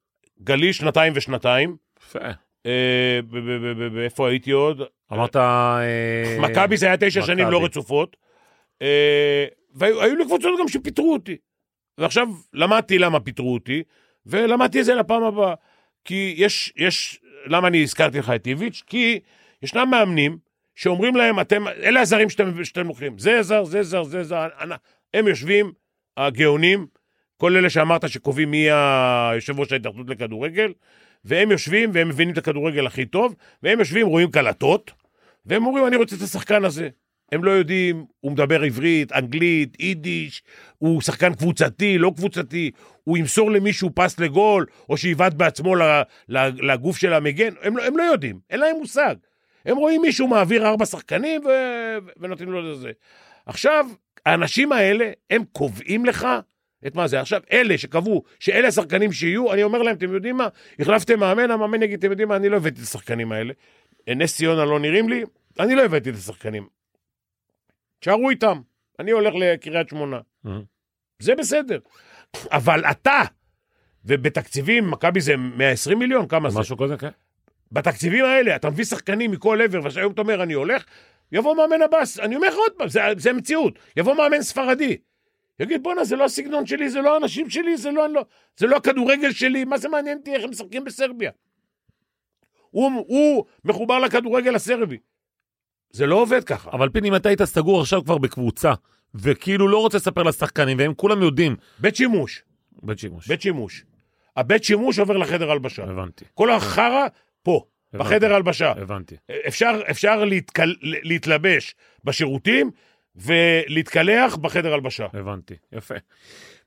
Speaker 4: גליל שנתיים ושנתיים.
Speaker 3: יפה.
Speaker 4: אה, ב- ב- ב- ב- ב- איפה הייתי עוד?
Speaker 3: אמרת... אה,
Speaker 4: מכבי זה היה תשע
Speaker 3: מכבי.
Speaker 4: שנים לא רצופות. אה, והיו היו לי קבוצות גם שפיטרו אותי. ועכשיו למדתי למה פיטרו אותי, ולמדתי את זה לפעם הבאה. כי יש, יש, למה אני הזכרתי לך את איביץ'? כי ישנם מאמנים שאומרים להם, אתם, אלה הזרים שאתם, שאתם לוקחים. זה זר, זה זר, זה זר. אנ- הם יושבים, הגאונים, כל אלה שאמרת שקובעים מי היושב ראש ההתאחדות לכדורגל, והם יושבים והם מבינים את הכדורגל הכי טוב, והם יושבים, רואים קלטות, והם אומרים, אני רוצה את השחקן הזה. הם לא יודעים, הוא מדבר עברית, אנגלית, יידיש, הוא שחקן קבוצתי, לא קבוצתי, הוא ימסור למישהו פס לגול, או שיבעט בעצמו ל- ל- לגוף של המגן, הם לא, הם לא יודעים, אין להם מושג. הם רואים מישהו מעביר ארבע שחקנים ו... ונותנים לו את זה. עכשיו, האנשים האלה, הם קובעים לך את מה זה. עכשיו, אלה שקבעו שאלה השחקנים שיהיו, אני אומר להם, אתם יודעים מה, החלפתם מאמן, המאמן יגיד, אתם יודעים מה, אני לא הבאתי את השחקנים האלה. נס ציונה לא נראים לי, אני לא הבאתי את השחקנים. תשארו איתם, אני הולך לקריית שמונה.
Speaker 3: Mhm.
Speaker 4: זה בסדר. אבל אתה, ובתקציבים, מכבי זה 120 מיליון, כמה זה?
Speaker 3: משהו כזה, כן.
Speaker 4: בתקציבים האלה, אתה מביא שחקנים מכל עבר, והיום אתה אומר, אני הולך, יבוא מאמן עבאס, אני אומר לך עוד פעם, זה, זה המציאות, יבוא מאמן ספרדי, יגיד בואנה זה לא הסגנון שלי, זה לא האנשים שלי, זה לא, לא, זה לא הכדורגל שלי, מה זה מעניין אותי איך הם משחקים בסרביה? הוא, הוא מחובר לכדורגל הסרבי. זה לא עובד ככה.
Speaker 3: אבל פיני, אם אתה היית סגור עכשיו כבר בקבוצה, וכאילו לא רוצה לספר לשחקנים, והם כולם יודעים,
Speaker 4: בית שימוש,
Speaker 3: בית שימוש.
Speaker 4: בית שימוש. הבית שימוש עובר לחדר הלבשה.
Speaker 3: הבנתי,
Speaker 4: כל החרא פה,
Speaker 3: הבנתי.
Speaker 4: בחדר הלבשה.
Speaker 3: הבנתי.
Speaker 4: אפשר, אפשר להתקל, להתלבש בשירותים ולהתקלח בחדר הלבשה.
Speaker 3: הבנתי, יפה.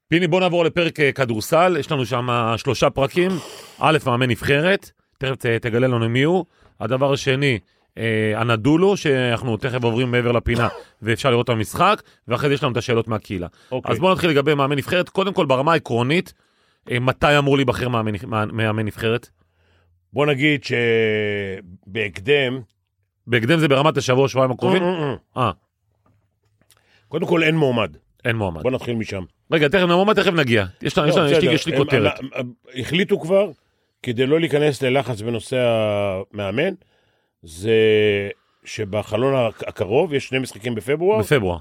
Speaker 3: פיני, בוא נעבור לפרק אה, כדורסל, יש לנו שם אה, שלושה פרקים. א', מאמן נבחרת, תכף ת- תגלה לנו מי הוא. הדבר השני, אה, הנדולו, שאנחנו תכף עוברים מעבר לפינה ואפשר לראות את המשחק, ואחרי זה יש לנו את השאלות מהקהילה.
Speaker 4: אוקיי.
Speaker 3: אז בואו נתחיל לגבי מאמן נבחרת. קודם כל, ברמה העקרונית, אה, מתי אמור להיבחר מאמן מאמן נבחרת?
Speaker 4: בוא נגיד שבהקדם...
Speaker 3: בהקדם זה ברמת השבוע, שבועיים הקרובים?
Speaker 4: אוקיי.
Speaker 3: אה,
Speaker 4: קודם כל אין מועמד,
Speaker 3: אין מועמד.
Speaker 4: בוא נתחיל משם.
Speaker 3: רגע, תכף נעמוד, תכף נגיע. יש לנו- יש
Speaker 4: לא,
Speaker 3: לנו- יש לי-
Speaker 4: בסדר,
Speaker 3: יש לי
Speaker 4: הם-
Speaker 3: כותרת.
Speaker 4: הם- הם- החליטו כבר, כדי לא להיכנס ללחץ בנושא המאמן, זה שבחלון הק- הקרוב יש שני משחקים בפברואר,
Speaker 3: בפברואר.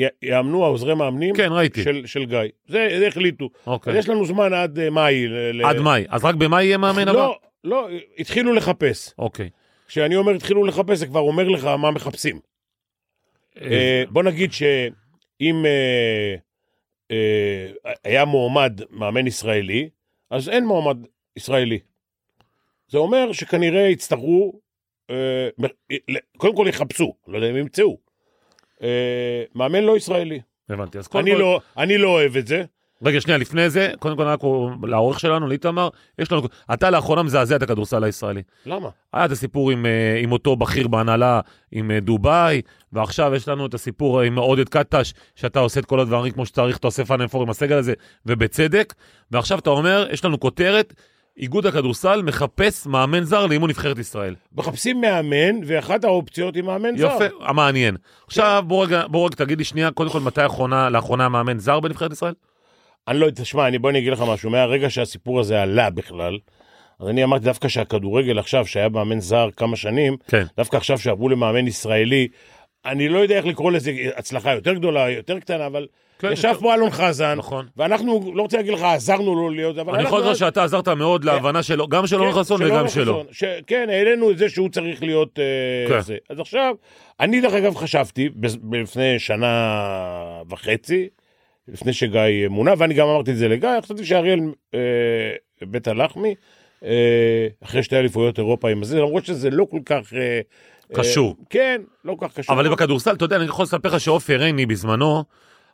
Speaker 4: י- יאמנו העוזרי מאמנים
Speaker 3: כן, ראיתי.
Speaker 4: של- של גיא. זה זה החליטו. אז
Speaker 3: אוקיי.
Speaker 4: יש לנו זמן עד אה, מאי. ל- ל-
Speaker 3: עד מאי. אז רק במאי יהיה מאמן הבא?
Speaker 4: לא, לא, התחילו לחפש.
Speaker 3: אוקיי.
Speaker 4: כשאני אומר התחילו לחפש, זה כבר אומר לך מה מחפשים. אה, בוא נגיד שאם אה, אה, היה מועמד מאמן ישראלי, אז אין מועמד ישראלי. זה אומר שכנראה יצטרכו, אה, מ- ל- קודם כל יחפשו, לא יודע אם ימצאו. אה, מאמן לא ישראלי.
Speaker 3: הבנתי. אז קודם
Speaker 4: אני
Speaker 3: כל...
Speaker 4: לא- אני לא אוהב את זה.
Speaker 3: רגע, שנייה, לפני זה, קודם כל רק לעורך שלנו, לאיתמר, יש לנו... אתה לאחרונה מזעזע את הכדורסל הישראלי.
Speaker 4: למה?
Speaker 3: היה את הסיפור עם, אה, עם אותו בכיר בהנהלה, עם אה, דובאי, ועכשיו יש לנו את הסיפור אה, עם עודד קטש, שאתה עושה את כל הדברים כמו שצריך, אתה עושה פאנל פור עם הסגל הזה, ובצדק. ועכשיו אתה אומר, יש לנו כותרת, איגוד הכדורסל מחפש מאמן זר לאימון נבחרת ישראל.
Speaker 4: מחפשים מאמן, ואחת האופציות היא מאמן זר. כן.
Speaker 3: יפה, המעניין. עכשיו בוא רגע, בוא רגע תגיד לי שנייה, קודם כל מתי האחרונה, לאחרונה מאמן זר בנבחרת ישראל?
Speaker 4: אני לא, תשמע, אני, בוא אני אגיד לך משהו, מהרגע שהסיפור הזה עלה בכלל, אז אני אמרתי דווקא שהכדורגל עכשיו, שהיה מאמן זר כמה שנים,
Speaker 3: כן.
Speaker 4: דווקא עכשיו שעברו למאמן ישראלי, אני לא יודע איך לקרוא לזה הצלחה יותר גדולה, יותר קטנה, אבל
Speaker 3: כן,
Speaker 4: ישב
Speaker 3: יותר-
Speaker 4: פה אלון חזן,
Speaker 3: נכון.
Speaker 4: ואנחנו, לא רוצה להגיד לך, עזרנו לו להיות, אבל
Speaker 3: אני
Speaker 4: אנחנו...
Speaker 3: יכול לומר שאתה עזרת מאוד להבנה שלו, גם של אורן
Speaker 4: לא, כן,
Speaker 3: חסון
Speaker 4: של
Speaker 3: וגם
Speaker 4: אורן
Speaker 3: שלו.
Speaker 4: חסון, ש... כן, העלינו את זה שהוא צריך להיות אה,
Speaker 3: כן.
Speaker 4: זה. אז עכשיו, אני דרך אגב חשבתי, ב- לפני שנה וחצי, לפני שגיא אה, מונה, ואני גם אמרתי את זה לגיא, חשבתי שאריאל אה, בית הלחמי, אה, אחרי שתי אליפויות אירופה עם זה, למרות שזה לא כל כך... אה,
Speaker 3: קשור.
Speaker 4: אה, כן, לא כל כך קשור.
Speaker 3: אבל בכדורסל, אתה יודע, אני יכול לספר לך שעופר עיני בזמנו,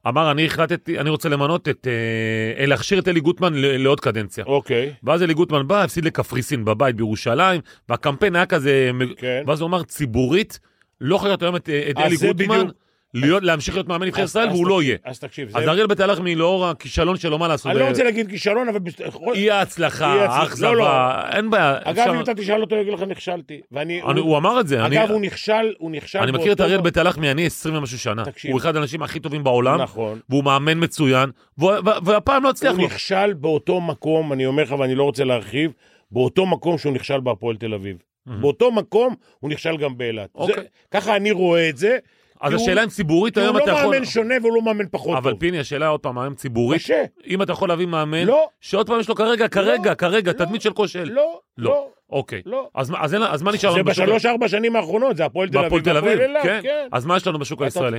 Speaker 3: אמר, אני החלטתי, אני רוצה למנות את, אה, אה, להכשיר את אלי גוטמן ל- לעוד קדנציה.
Speaker 4: אוקיי.
Speaker 3: ואז אלי גוטמן בא, הפסיד לקפריסין בבית בירושלים, והקמפיין היה כזה, מג-
Speaker 4: כן.
Speaker 3: ואז הוא אמר, ציבורית, לא חייבת היום את אה, את
Speaker 4: אז
Speaker 3: אלי
Speaker 4: זה
Speaker 3: גוטמן,
Speaker 4: בדיוק.
Speaker 3: להיות- להמשיך להיות מאמן נבחרת
Speaker 4: אז-
Speaker 3: ישראל,
Speaker 4: אז
Speaker 3: והוא
Speaker 4: תקשיב,
Speaker 3: לא יהיה.
Speaker 4: אז תקשיב, זה-
Speaker 3: אז אריאל בית הלחמי, לאור הכישלון שלו, מה לעשות?
Speaker 4: אני לא
Speaker 3: אה,
Speaker 4: רוצה להגיד כישלון, אבל... בס-
Speaker 3: אי ההצלחה,
Speaker 4: אי ההצלחה, לא, לא.
Speaker 3: האכזבה, אין בעיה.
Speaker 4: אגב,
Speaker 3: אפשר-
Speaker 4: אם אתה תשאל אותו, הוא יגיד לך נכשלתי. ואני...
Speaker 3: אני- הוא אמר את זה. אני-
Speaker 4: אגב, הוא נכשל, הוא נכשל...
Speaker 3: אני מכיר את
Speaker 4: באותו-
Speaker 3: אריאל בית הלחמי, אני 20 ומשהו שנה.
Speaker 4: תקשיב.
Speaker 3: הוא אחד האנשים הכי טובים בעולם,
Speaker 4: נכון.
Speaker 3: והוא מאמן מצוין, והוא- וה- והפעם לא הצליח
Speaker 4: הוא
Speaker 3: לו.
Speaker 4: נכשל באותו מקום, אני אומר לך ואני לא רוצה להרחיב, באותו מקום שהוא נכשל בהפועל תל אביב. באותו מקום הוא נכשל גם באילת. זה-
Speaker 3: אוקיי.
Speaker 4: ככה אני רואה את זה.
Speaker 3: אז
Speaker 4: כי הוא-
Speaker 3: השאלה אם ציבורית
Speaker 4: כי הוא
Speaker 3: היום אתה
Speaker 4: לא
Speaker 3: יכול...
Speaker 4: מאמן שונה והוא לא מאמן פחות
Speaker 3: אבל
Speaker 4: טוב.
Speaker 3: פיני, השאלה עוד פעם, היום ציבורית,
Speaker 4: קשה.
Speaker 3: אם אתה יכול להביא מאמן,
Speaker 4: לא.
Speaker 3: שעוד פעם יש לו כרגע, כרגע, כרגע,
Speaker 4: לא,
Speaker 3: תדמית של כושל.
Speaker 4: לא,
Speaker 3: לא.
Speaker 4: לא,
Speaker 3: אוקיי.
Speaker 4: לא.
Speaker 3: אז מה- אז אין לה- אז מה נשאר
Speaker 4: זה
Speaker 3: לנו בשוק-
Speaker 4: בשלוש-ארבע שנים האחרונות, זה הפועל תל אביב.
Speaker 3: בהפועל תל אביב?
Speaker 4: והפועל אילת,
Speaker 3: כן. אז מה יש לנו בשוק
Speaker 4: אתה-
Speaker 3: הישראלי?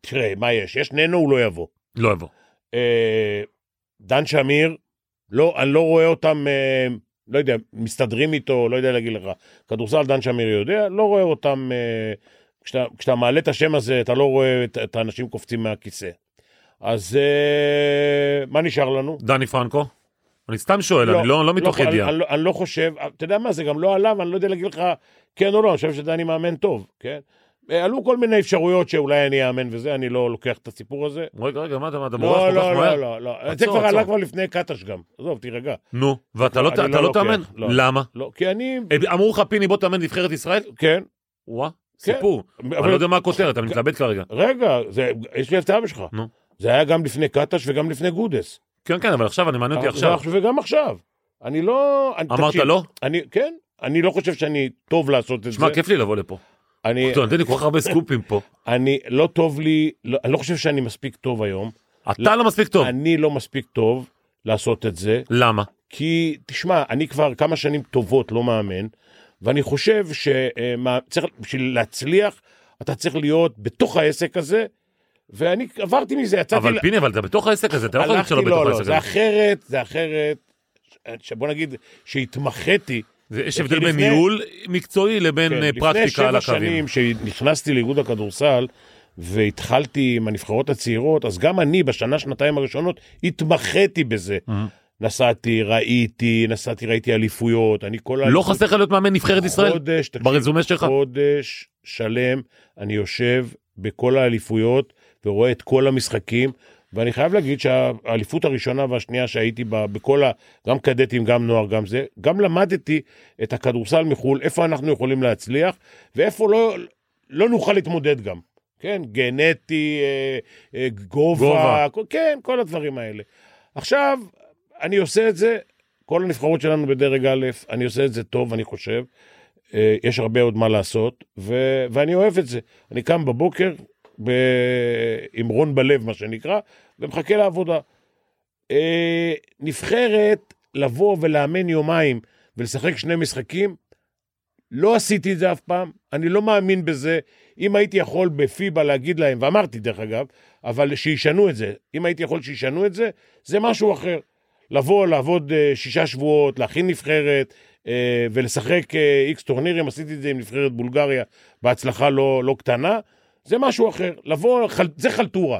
Speaker 4: תראה, מה יש? יש ננו, הוא לא יבוא.
Speaker 3: לא יבוא.
Speaker 4: אה, דן שמיר, לא, אני לא רואה אותם, אה, לא יודע, מסתדרים איתו, לא יודע להגיד לך. כדורסל דן שמיר יודע, לא רואה אותם, אה, כשאתה, כשאתה מעלה את השם הזה, אתה לא רואה את, את האנשים קופצים מהכיסא. אז אה, מה נשאר לנו?
Speaker 3: דני פרנקו? אני סתם שואל, אני לא לא מתוך
Speaker 4: אני-
Speaker 3: ידיעה.
Speaker 4: אני, לא- אני לא חושב, אתה יודע מה, זה גם לא עליו, אני לא יודע להגיד לך כן או לא, אני חושב שדני מאמן טוב, כן? אה, עלו כל מיני אפשרויות שאולי אני אאמן וזה, אני לא לוקח את הסיפור הזה.
Speaker 3: רגע, רגע, מה אתה מה, אתה בורח
Speaker 4: לא,
Speaker 3: כל כך
Speaker 4: לא,
Speaker 3: מהר?
Speaker 4: לא, לא, לא. זה
Speaker 3: עצור,
Speaker 4: כבר עלה
Speaker 3: עצור.
Speaker 4: כבר לפני קטש גם. עזוב, תירגע.
Speaker 3: נו, ואתה לא ת-
Speaker 4: אני
Speaker 3: אתה
Speaker 4: לא
Speaker 3: לא
Speaker 4: לוקח,
Speaker 3: תאמן?
Speaker 4: לא.
Speaker 3: למה?
Speaker 4: לא, כי אני...
Speaker 3: אה, אמרו לך פיני בוא תאמן נבחרת ישראל?
Speaker 4: כן.
Speaker 3: וואה,
Speaker 4: כן.
Speaker 3: סיפור. אני לא
Speaker 4: אבל- כן.
Speaker 3: יודע מה הכותרת, אני מתלבט כרגע.
Speaker 4: רגע, זה- יש לי הפתעה בשבילך.
Speaker 3: נו.
Speaker 4: זה היה גם לפני קטש וגם לפני גודס.
Speaker 3: כן, כן, אבל עכשיו אני מעניין
Speaker 4: אה,
Speaker 3: אותי עכשיו.
Speaker 4: וגם עכשיו. אני לא... אני-
Speaker 3: אמרת
Speaker 4: תקשיב,
Speaker 3: לא?
Speaker 4: אני, כן. אני לא חושב שאני טוב לעשות את זה.
Speaker 3: שמע, כיף לי לבוא לפה.
Speaker 4: אני,
Speaker 3: אתה נותן לי כל כך הרבה סקופים פה.
Speaker 4: אני, לא טוב לי, לא, אני לא חושב שאני מספיק טוב היום.
Speaker 3: אתה לא מספיק טוב.
Speaker 4: אני לא מספיק טוב לעשות את זה,
Speaker 3: למה?
Speaker 4: כי תשמע, אני כבר כמה שנים טובות לא מאמן, ואני חושב אה, שבשביל להצליח, אתה צריך להיות בתוך העסק הזה, ואני עברתי מזה, יצאתי... ל-
Speaker 3: אבל פיני, אבל אתה בתוך העסק הזה, אתה לא יכול
Speaker 4: הלכתי,
Speaker 3: למצוא לו בתוך
Speaker 4: לא, לא,
Speaker 3: העסק
Speaker 4: זה
Speaker 3: הזה.
Speaker 4: אחרת, זה אחרת, ש- בוא נגיד שהתמחיתי.
Speaker 3: זה- יש הבדל
Speaker 4: כי
Speaker 3: בין
Speaker 4: לפני- כן,
Speaker 3: ניהול מקצועי לבין אה,
Speaker 4: לפני
Speaker 3: פרקטיקה על
Speaker 4: שבע
Speaker 3: הקווים.
Speaker 4: שנים שנכנסתי לאיגוד הכדורסל והתחלתי עם הנבחרות הצעירות, אז גם אני בשנה, שנתיים הראשונות התמחיתי בזה. נסעתי, ראיתי, נסעתי, ראיתי אליפויות, אני כל
Speaker 3: לא חסר לך להיות מאמן נבחרת ישראל?
Speaker 4: חודש, תקשיב,
Speaker 3: ברזומה שלך?
Speaker 4: חודש שלם אני יושב בכל האליפויות ורואה את כל המשחקים, ואני חייב להגיד שהאליפות הראשונה והשנייה שהייתי בה, בכל ה... גם קדטים, גם נוער, גם זה, גם למדתי את הכדורסל מחו"ל, איפה אנחנו יכולים להצליח, ואיפה לא, לא נוכל להתמודד גם. כן, גנטי, אה, אה, גובה,
Speaker 3: גובה.
Speaker 4: גובה. כל, כן, כל הדברים האלה. עכשיו, אני עושה את זה, כל הנבחרות שלנו בדרג א', אני עושה את זה טוב, אני חושב. אה, יש הרבה עוד מה לעשות, ו... ואני אוהב את זה. אני קם בבוקר ב... עם רון בלב, מה שנקרא, ומחכה לעבודה. אה, נבחרת, לבוא ולאמן יומיים ולשחק שני משחקים, לא עשיתי את זה אף פעם, אני לא מאמין בזה. אם הייתי יכול בפיבה להגיד להם, ואמרתי דרך אגב, אבל שישנו את זה. אם הייתי יכול שישנו את זה, זה משהו אחר. לבוא, לעבוד אה, שישה שבועות, להכין נבחרת אה, ולשחק אה, איקס טורנירים, עשיתי את זה עם נבחרת בולגריה בהצלחה לא, לא קטנה, זה משהו אחר. לבוא, חל, זה חלטורה.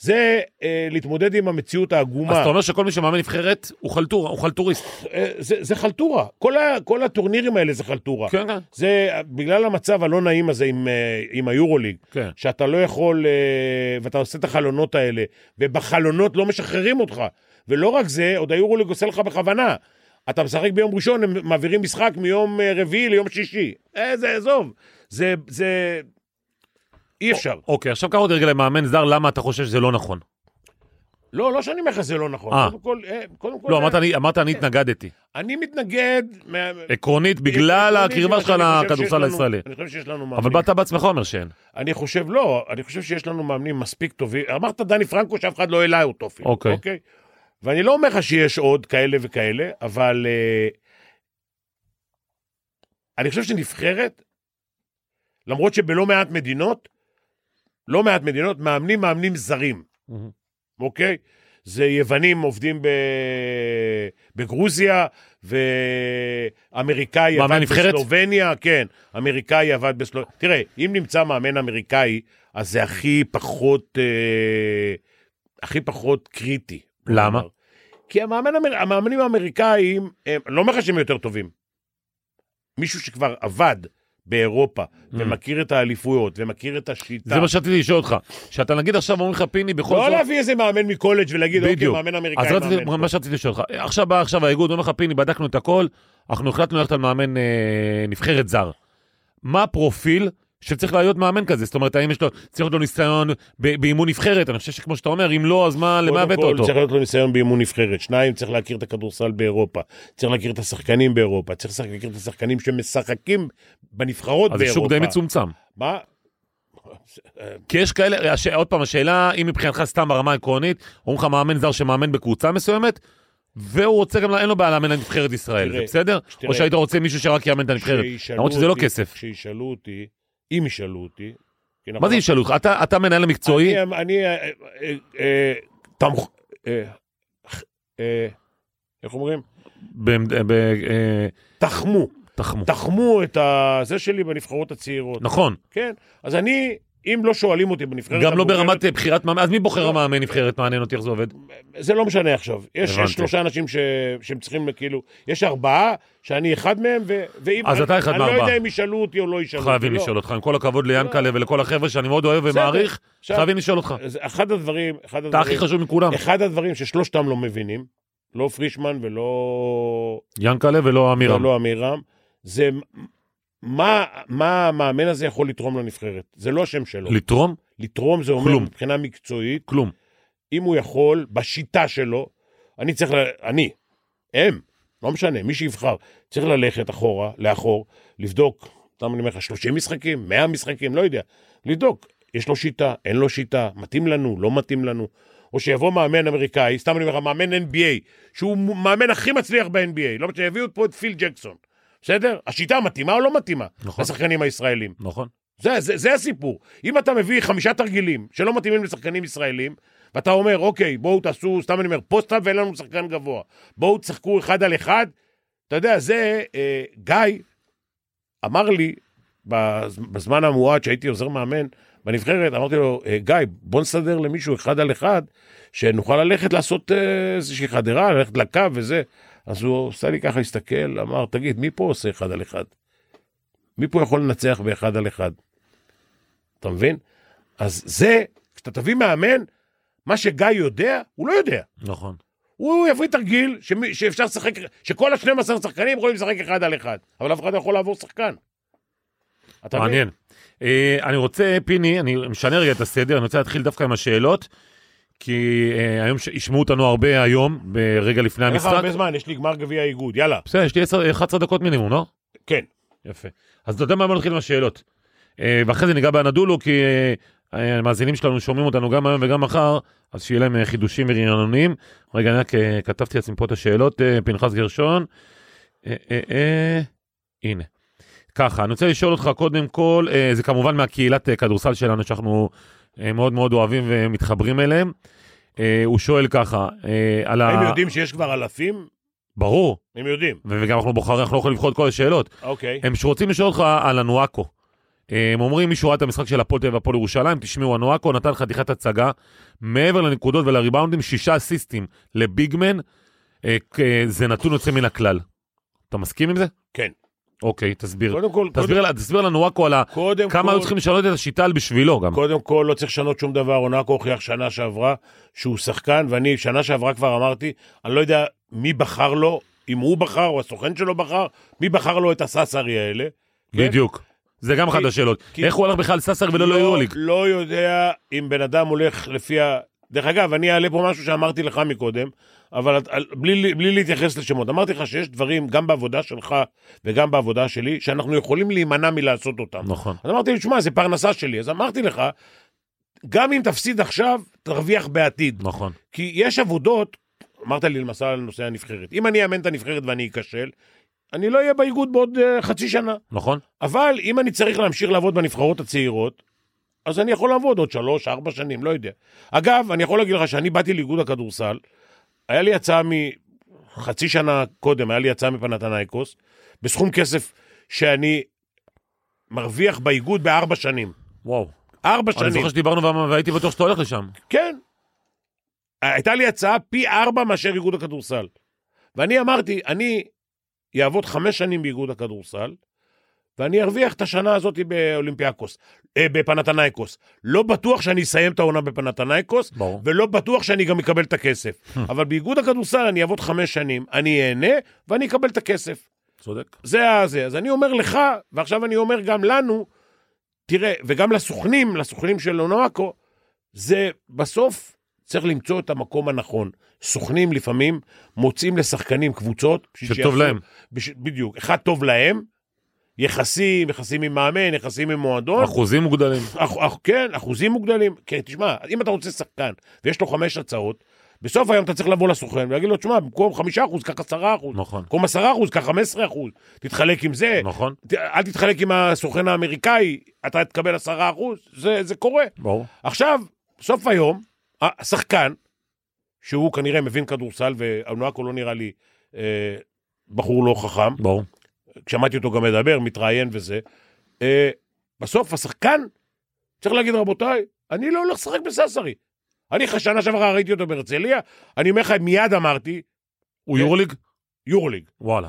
Speaker 4: זה אה, להתמודד עם המציאות העגומה.
Speaker 3: אז אתה אומר שכל מי שמאמן נבחרת הוא חלטור, הוא חלטוריסט.
Speaker 4: אה, זה, זה חלטורה. כל, ה, כל הטורנירים האלה זה חלטורה.
Speaker 3: כן, כן.
Speaker 4: זה אה, בגלל המצב הלא נעים הזה עם, אה, עם היורוליג,
Speaker 3: כן.
Speaker 4: שאתה לא יכול, אה, ואתה עושה את החלונות האלה, ובחלונות לא משחררים אותך. ולא רק זה, עוד היורוליג עושה לך בכוונה. אתה משחק ביום ראשון, הם מעבירים משחק מיום אה, רביעי ליום שישי. איזה, עזוב. זה, זה... אי אפשר.
Speaker 3: אוקיי, עכשיו קח אותי רגע למאמן זר, למה אתה חושב שזה לא נכון?
Speaker 4: לא, לא שאני אומר לך זה לא נכון.
Speaker 3: אה.
Speaker 4: קודם כל, אה, קודם כל
Speaker 3: לא,
Speaker 4: אה,
Speaker 3: אמרת, אני- אמרת אני התנגדתי.
Speaker 4: אני מתנגד... מה-
Speaker 3: עקרונית, בגלל
Speaker 4: עקרונית,
Speaker 3: הקרבה
Speaker 4: אני
Speaker 3: שלך
Speaker 4: חושב שיש
Speaker 3: לכדורסל
Speaker 4: לנו-
Speaker 3: הישראלי.
Speaker 4: אני חושב שיש לנו
Speaker 3: אבל
Speaker 4: מאמנים.
Speaker 3: באת בעצמך אומר שאין.
Speaker 4: אני חושב, לא, אני חושב שיש לנו מאמנים מספיק טובים. אמרת דני פרנקו שאף אחד לא העלה אותו אפילו.
Speaker 3: אוקיי.
Speaker 4: אוקיי? ואני לא אומר לך שיש עוד כאלה וכאלה, אבל אה, אני חושב שנבחרת, למרות שבלא מעט מדינות, לא מעט מדינות, מאמנים מאמנים זרים. אוקיי? זה יוונים עובדים ב... בגרוזיה, ואמריקאי
Speaker 3: מאמן
Speaker 4: עבד
Speaker 3: נבחרת?
Speaker 4: בסלובניה, כן, אמריקאי עבד בסלובניה. תראה, אם נמצא מאמן אמריקאי, אז זה הכי פחות, אה... הכי פחות קריטי.
Speaker 3: למה?
Speaker 4: כלומר, כי המאמן, האמר- המאמנים האמריקאים, הם, אני לא אומר לך שהם יותר טובים. מישהו שכבר עבד באירופה, ומכיר את האליפויות, ומכיר את השיטה.
Speaker 3: Mm. זה מה שרציתי לשאול אותך. שאתה נגיד עכשיו אומרים לך פיני בכל
Speaker 4: לא
Speaker 3: זאת...
Speaker 4: להביא איזה מאמן מקולג' ולהגיד, אוקיי,
Speaker 3: בדיוק.
Speaker 4: מאמן
Speaker 3: אז
Speaker 4: אמריקאי,
Speaker 3: רציתי,
Speaker 4: מאמן. פה."
Speaker 3: מה שרציתי לשאול אותך, עכשיו בא עכשיו האיגוד, אומר לך פיני, בדקנו את הכל, אנחנו החלטנו ללכת על מאמן אה, נבחרת זר. מה הפרופיל שצריך להיות מאמן כזה? זאת אומרת, האם יש לו, צריך להיות לו ניסיון ב- באימון נבחרת? אני חושב שכמו שאתה אומר, אם לא, אז מה, למה
Speaker 4: קודם
Speaker 3: הבאת
Speaker 4: כל,
Speaker 3: אותו?
Speaker 4: צריך להיות לו ניסיון באימון נבחרת. שניים, צריך להכיר את הכדורסל באירופה. צריך להכיר את השחקנים באירופה. צריך לשחק- להכיר את השחקנים שמשחקים בנבחרות
Speaker 3: אז
Speaker 4: באירופה.
Speaker 3: זה שוק די מצומצם.
Speaker 4: מה?
Speaker 3: כי יש כאלה, הש... עוד פעם, השאלה, אם מבחינתך סתם ברמה העקרונית, אומרים לך מאמן זר שמאמן בקבוצה מסוימת, והוא רוצה גם, אין לו בעיה לאמן את נבחרת ישראל, זה
Speaker 4: תראה,
Speaker 3: בסדר?
Speaker 4: תראה.
Speaker 3: או שהיית רוצה מישהו שרק יאמן את הנבחרת,
Speaker 4: כשישאלו
Speaker 3: למרות שזה לא
Speaker 4: אותי-
Speaker 3: כסף.
Speaker 4: כשישאלו אותי, אם ישאלו אותי... כי
Speaker 3: מה
Speaker 4: נכון,
Speaker 3: זה ישאלו אותך? אתה- אתה מנהל המקצועי?
Speaker 4: אני... אני אה, אה, אה, תמוך... אה, אה, איך אומרים?
Speaker 3: בעמד- ב- אה,
Speaker 4: תחמו.
Speaker 3: תחמו.
Speaker 4: תחמו את ה- זה שלי בנבחרות הצעירות.
Speaker 3: נכון,
Speaker 4: כן. אז אני, אם לא שואלים אותי בנבחרת...
Speaker 3: גם לא
Speaker 4: הבוגרת-
Speaker 3: ברמת אה, בחירת מאמן, אז מי בוחר
Speaker 4: לא.
Speaker 3: המאמן נבחרת? מעניין אותי איך זה עובד.
Speaker 4: זה לא משנה עכשיו. יש,
Speaker 3: הבנתי.
Speaker 4: יש שלושה אנשים ש... שהם צריכים, כאילו, יש ארבעה, שאני אחד מהם, ו... ואם...
Speaker 3: אז
Speaker 4: אני-
Speaker 3: אתה אחד
Speaker 4: אני לא
Speaker 3: מארבעה.
Speaker 4: יודע אם ישאלו אותי או לא ישאלו אותי.
Speaker 3: חייבים
Speaker 4: לא.
Speaker 3: לשאול אותך, עם כל הכבוד ליאנקלה ולכל החבר'ה שאני מאוד אוהב
Speaker 4: בסדר.
Speaker 3: ומעריך,
Speaker 4: עכשיו, אה,
Speaker 3: חייבים לשאול אותך.
Speaker 4: אז אחד הדברים, אחד
Speaker 3: אתה הכי
Speaker 4: הדברים,
Speaker 3: חשוב מכולם,
Speaker 4: אחד הדברים ששלושתם לא מבינים, לא פרישמן ולא...
Speaker 3: יאנקלה ולא אמירם.
Speaker 4: ולא אמירם, זה מה, מה המאמן הזה יכול לתרום לנבחרת. זה לא השם שלו.
Speaker 3: לתרום?
Speaker 4: לתרום זה אומר
Speaker 3: כלום.
Speaker 4: מבחינה מקצועית,
Speaker 3: כלום.
Speaker 4: אם הוא יכול, בשיטה שלו, אני צריך, ל... אני, הם, לא משנה, מי שיבחר, צריך ללכת אחורה, לאחור, לבדוק סתם אני אומר לך, 30 משחקים, 100 משחקים, לא יודע. לבדוק, יש לו שיטה, אין לו שיטה, מתאים לנו, לא מתאים לנו. או שיבוא מאמן אמריקאי, סתם אני אומר לך, מאמן NBA, שהוא מאמן הכי מצליח ב-NBA, לא משנה, יביאו פה את פיל ג'קסון, בסדר? השיטה מתאימה או לא מתאימה?
Speaker 3: נכון.
Speaker 4: לשחקנים הישראלים.
Speaker 3: נכון.
Speaker 4: זה, זה, זה הסיפור. אם אתה מביא חמישה תרגילים שלא מתאימים לשחקנים ישראלים, ואתה אומר, אוקיי, בואו תעשו, סתם אני אומר, פוסט-אפ ואין לנו שחקן גבוה. בואו תשחקו אחד על אחד. אתה יודע, זה, אה, גיא אמר לי, בז- בזמן המועט שהייתי עוזר מאמן בנבחרת, אמרתי לו, "אה, גיא, בוא נסדר למישהו אחד על אחד, שנוכל ללכת לעשות אה, איזושהי חדירה, ללכת לקו וזה. אז הוא עשה לי ככה, הסתכל, אמר, תגיד, מי פה עושה אחד על אחד? מי פה יכול לנצח באחד על אחד? אתה מבין? אז זה, כשאתה תביא מאמן, מה שגיא יודע, הוא לא יודע.
Speaker 3: נכון.
Speaker 4: הוא יביא תרגיל שמי, שאפשר לשחק, שכל ה-12 שחקנים יכולים לשחק אחד על אחד, אבל אף אחד לא יכול לעבור שחקן. אתה מבין?
Speaker 3: מעניין. אה, אני רוצה, פיני, אני משנה רגע את הסדר, אני רוצה להתחיל דווקא עם השאלות, כי אה, היום ש- ישמעו אותנו הרבה היום, רגע לפני
Speaker 4: אין לך
Speaker 3: המשחק.
Speaker 4: הרבה זמן, יש לי גמר גביע האיגוד, יאללה.
Speaker 3: בסדר, יש לי 10 11 דקות מינימום, לא?
Speaker 4: כן.
Speaker 3: יפה. אז אתה יודע מה, בוא נתחיל עם השאלות. אה, ואחרי זה ניגע באנדולו, כי אה, אה, המאזינים שלנו שומעים אותנו גם היום וגם מחר, אז שיהיה להם אה, חידושים ורענונים. רגע, אני רק אה, כתבתי לעצמי פה את השאלות, אה, פנחס גרשון. אה, אה, אה, הנה. ככה, אני רוצה לשאול אותך קודם כל, אה, זה כמובן מהקהילת אה, כדורסל שלנו, שאנחנו אה, מאוד מאוד אוהבים ומתחברים אליהם. אה, הוא שואל ככה, אה, על ה...
Speaker 4: הם יודעים שיש כבר אלפים?
Speaker 3: ברור,
Speaker 4: הם יודעים.
Speaker 3: ו- וגם אנחנו בוחרים, אנחנו לא יכולים לבחור את כל השאלות.
Speaker 4: אוקיי.
Speaker 3: הם שרוצים לשאול אותך על אנואקו. הם אומרים, מישהו ראה את המשחק של הפועל תל אביב והפועל ירושלים, תשמעו, אנואקו נתן חתיכת הצגה, מעבר לנקודות ולריבאונדים, שישה אסיסטים לביגמן, אה, כ- אה, זה נתון יוצא מן הכלל. אתה מסכים עם זה?
Speaker 4: כן.
Speaker 3: אוקיי, תסביר.
Speaker 4: קודם כל,
Speaker 3: תסביר
Speaker 4: קודם-
Speaker 3: על- תסביר על אנואקו, על ה-
Speaker 4: קודם
Speaker 3: כמה היו
Speaker 4: כל,
Speaker 3: צריכים לשנות את השיטה על בשבילו גם.
Speaker 4: קודם כל לא צריך לשנות שום דבר, אונקו הוכיח שנה שעברה שהוא שחקן, ואני שנה שעברה כבר אמרתי, אני לא יודע מי בחר לו, אם הוא בחר או הסוכן שלו בחר, מי בחר לו את הססרי האלה. כן?
Speaker 3: בדיוק. זה גם אחת
Speaker 4: כי-
Speaker 3: השאלות.
Speaker 4: כי-
Speaker 3: איך הוא הלך בכלל לססר ולא ליורוליג?
Speaker 4: לא יודע אם בן אדם הולך לפי ה... דרך אגב, אני אעלה פה משהו שאמרתי לך מקודם, אבל את- על- בלי, בלי להתייחס לשמות. אמרתי לך שיש דברים, גם בעבודה שלך וגם בעבודה שלי, שאנחנו יכולים להימנע מלעשות אותם.
Speaker 3: נכון.
Speaker 4: אז אמרתי לי, שמע, זה פרנסה שלי. אז אמרתי לך, גם אם תפסיד עכשיו, תרוויח בעתיד.
Speaker 3: נכון.
Speaker 4: כי יש עבודות, אמרת לי למשל על נושא הנבחרת. אם אני אאמן את הנבחרת ואני אכשל, אני לא אהיה באיגוד בעוד אה, חצי שנה.
Speaker 3: נכון?
Speaker 4: אבל אם אני צריך להמשיך לעבוד בנבחרות הצעירות, אז אני יכול לעבוד עוד שלוש, ארבע שנים, לא יודע. אגב, אני יכול להגיד לך שאני באתי לאיגוד הכדורסל, היה לי הצעה מ... חצי שנה קודם, היה לי הצעה מפנתנייקוס, בסכום כסף שאני מרוויח באיגוד בארבע שנים.
Speaker 3: וואו.
Speaker 4: ארבע
Speaker 3: אני
Speaker 4: שנים,
Speaker 3: זוכר שדיברנו ואמר- והייתי בטוח שאתה הולך לשם.
Speaker 4: כן. הייתה לי הצעה פי ארבע מאשר איגוד הכדורסל. ואני אמרתי, אני יעבוד חמש שנים באיגוד הכדורסל, ואני ארוויח את השנה הזאת באולימפיאקוס, אה, בפנתנייקוס. לא בטוח שאני אסיים את העונה בפנתנייקוס,
Speaker 3: ברור.
Speaker 4: ולא בטוח שאני גם אקבל את הכסף. אבל באיגוד הכדורסל אני אעבוד חמש שנים, אני אהנה ואני אקבל את הכסף.
Speaker 3: צודק.
Speaker 4: זה ה- זה. אז אני אומר לך, ועכשיו אני אומר גם לנו, תראה, וגם לסוכנים, לסוכנים של אונואקו, זה בסוף צריך למצוא את המקום הנכון. סוכנים לפעמים מוצאים לשחקנים קבוצות. בשביל
Speaker 3: שטוב
Speaker 4: שיעשו-
Speaker 3: להם.
Speaker 4: בש... בדיוק. אחד טוב להם, יחסים, יחסים עם מאמן, יחסים עם מועדון.
Speaker 3: אחוזים מוגדלים.
Speaker 4: אח, אח, כן, אחוזים מוגדלים. כן, תשמע, אם אתה רוצה שחקן ויש לו חמש הצעות, בסוף היום אתה צריך לבוא לסוכן ולהגיד לו, תשמע, במקום חמישה אחוז, קח עשרה אחוז.
Speaker 3: נכון.
Speaker 4: במקום עשרה אחוז, קח חמש עשרה אחוז. תתחלק עם זה,
Speaker 3: נכון?
Speaker 4: ת- אל תתחלק עם הסוכן האמריקאי, אתה תקבל עשרה אחוז, זה, זה קורה.
Speaker 3: ברור.
Speaker 4: עכשיו, סוף היום, השחקן, שהוא כנראה מבין כדורסל, ואונואקו לא נראה לי אה, בחור לא חכם,
Speaker 3: ברור.
Speaker 4: שמעתי אותו גם מדבר, מתראיין וזה. אה, בסוף השחקן צריך להגיד, רבותיי, אני לא הולך לשחק בססרי. אני אחרי שנה שעברה ראיתי אותו בהרצליה, אני אומר לך, מיד אמרתי,
Speaker 3: הוא
Speaker 4: כן.
Speaker 3: יורוליג?
Speaker 4: יורוליג.
Speaker 3: וואלה.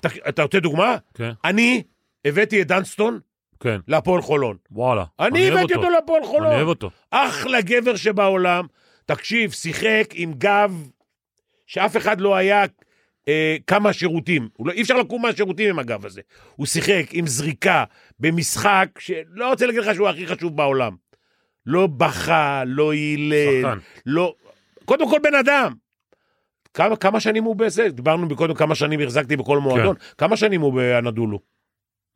Speaker 4: אתה, אתה רוצה דוגמה?
Speaker 3: כן.
Speaker 4: אני הבאתי את דנסטון
Speaker 3: כן.
Speaker 4: להפועל חולון.
Speaker 3: וואלה.
Speaker 4: אני
Speaker 3: אוהב
Speaker 4: הבאתי אותו להפועל
Speaker 3: אני אוהב
Speaker 4: חולון.
Speaker 3: אותו.
Speaker 4: אחלה גבר שבעולם. תקשיב, שיחק עם גב שאף אחד לא היה אה, כמה שירותים. הוא לא, אי אפשר לקום מהשירותים עם הגב הזה. הוא שיחק עם זריקה במשחק שלא רוצה להגיד לך שהוא הכי חשוב בעולם. לא בכה, לא הילל,
Speaker 3: שחקן.
Speaker 4: לא... קודם כל בן אדם.
Speaker 3: כן.
Speaker 4: כמה, כמה שנים הוא בזה? דיברנו קודם כמה שנים החזקתי בכל מועדון. כמה שנים הוא באנדולו?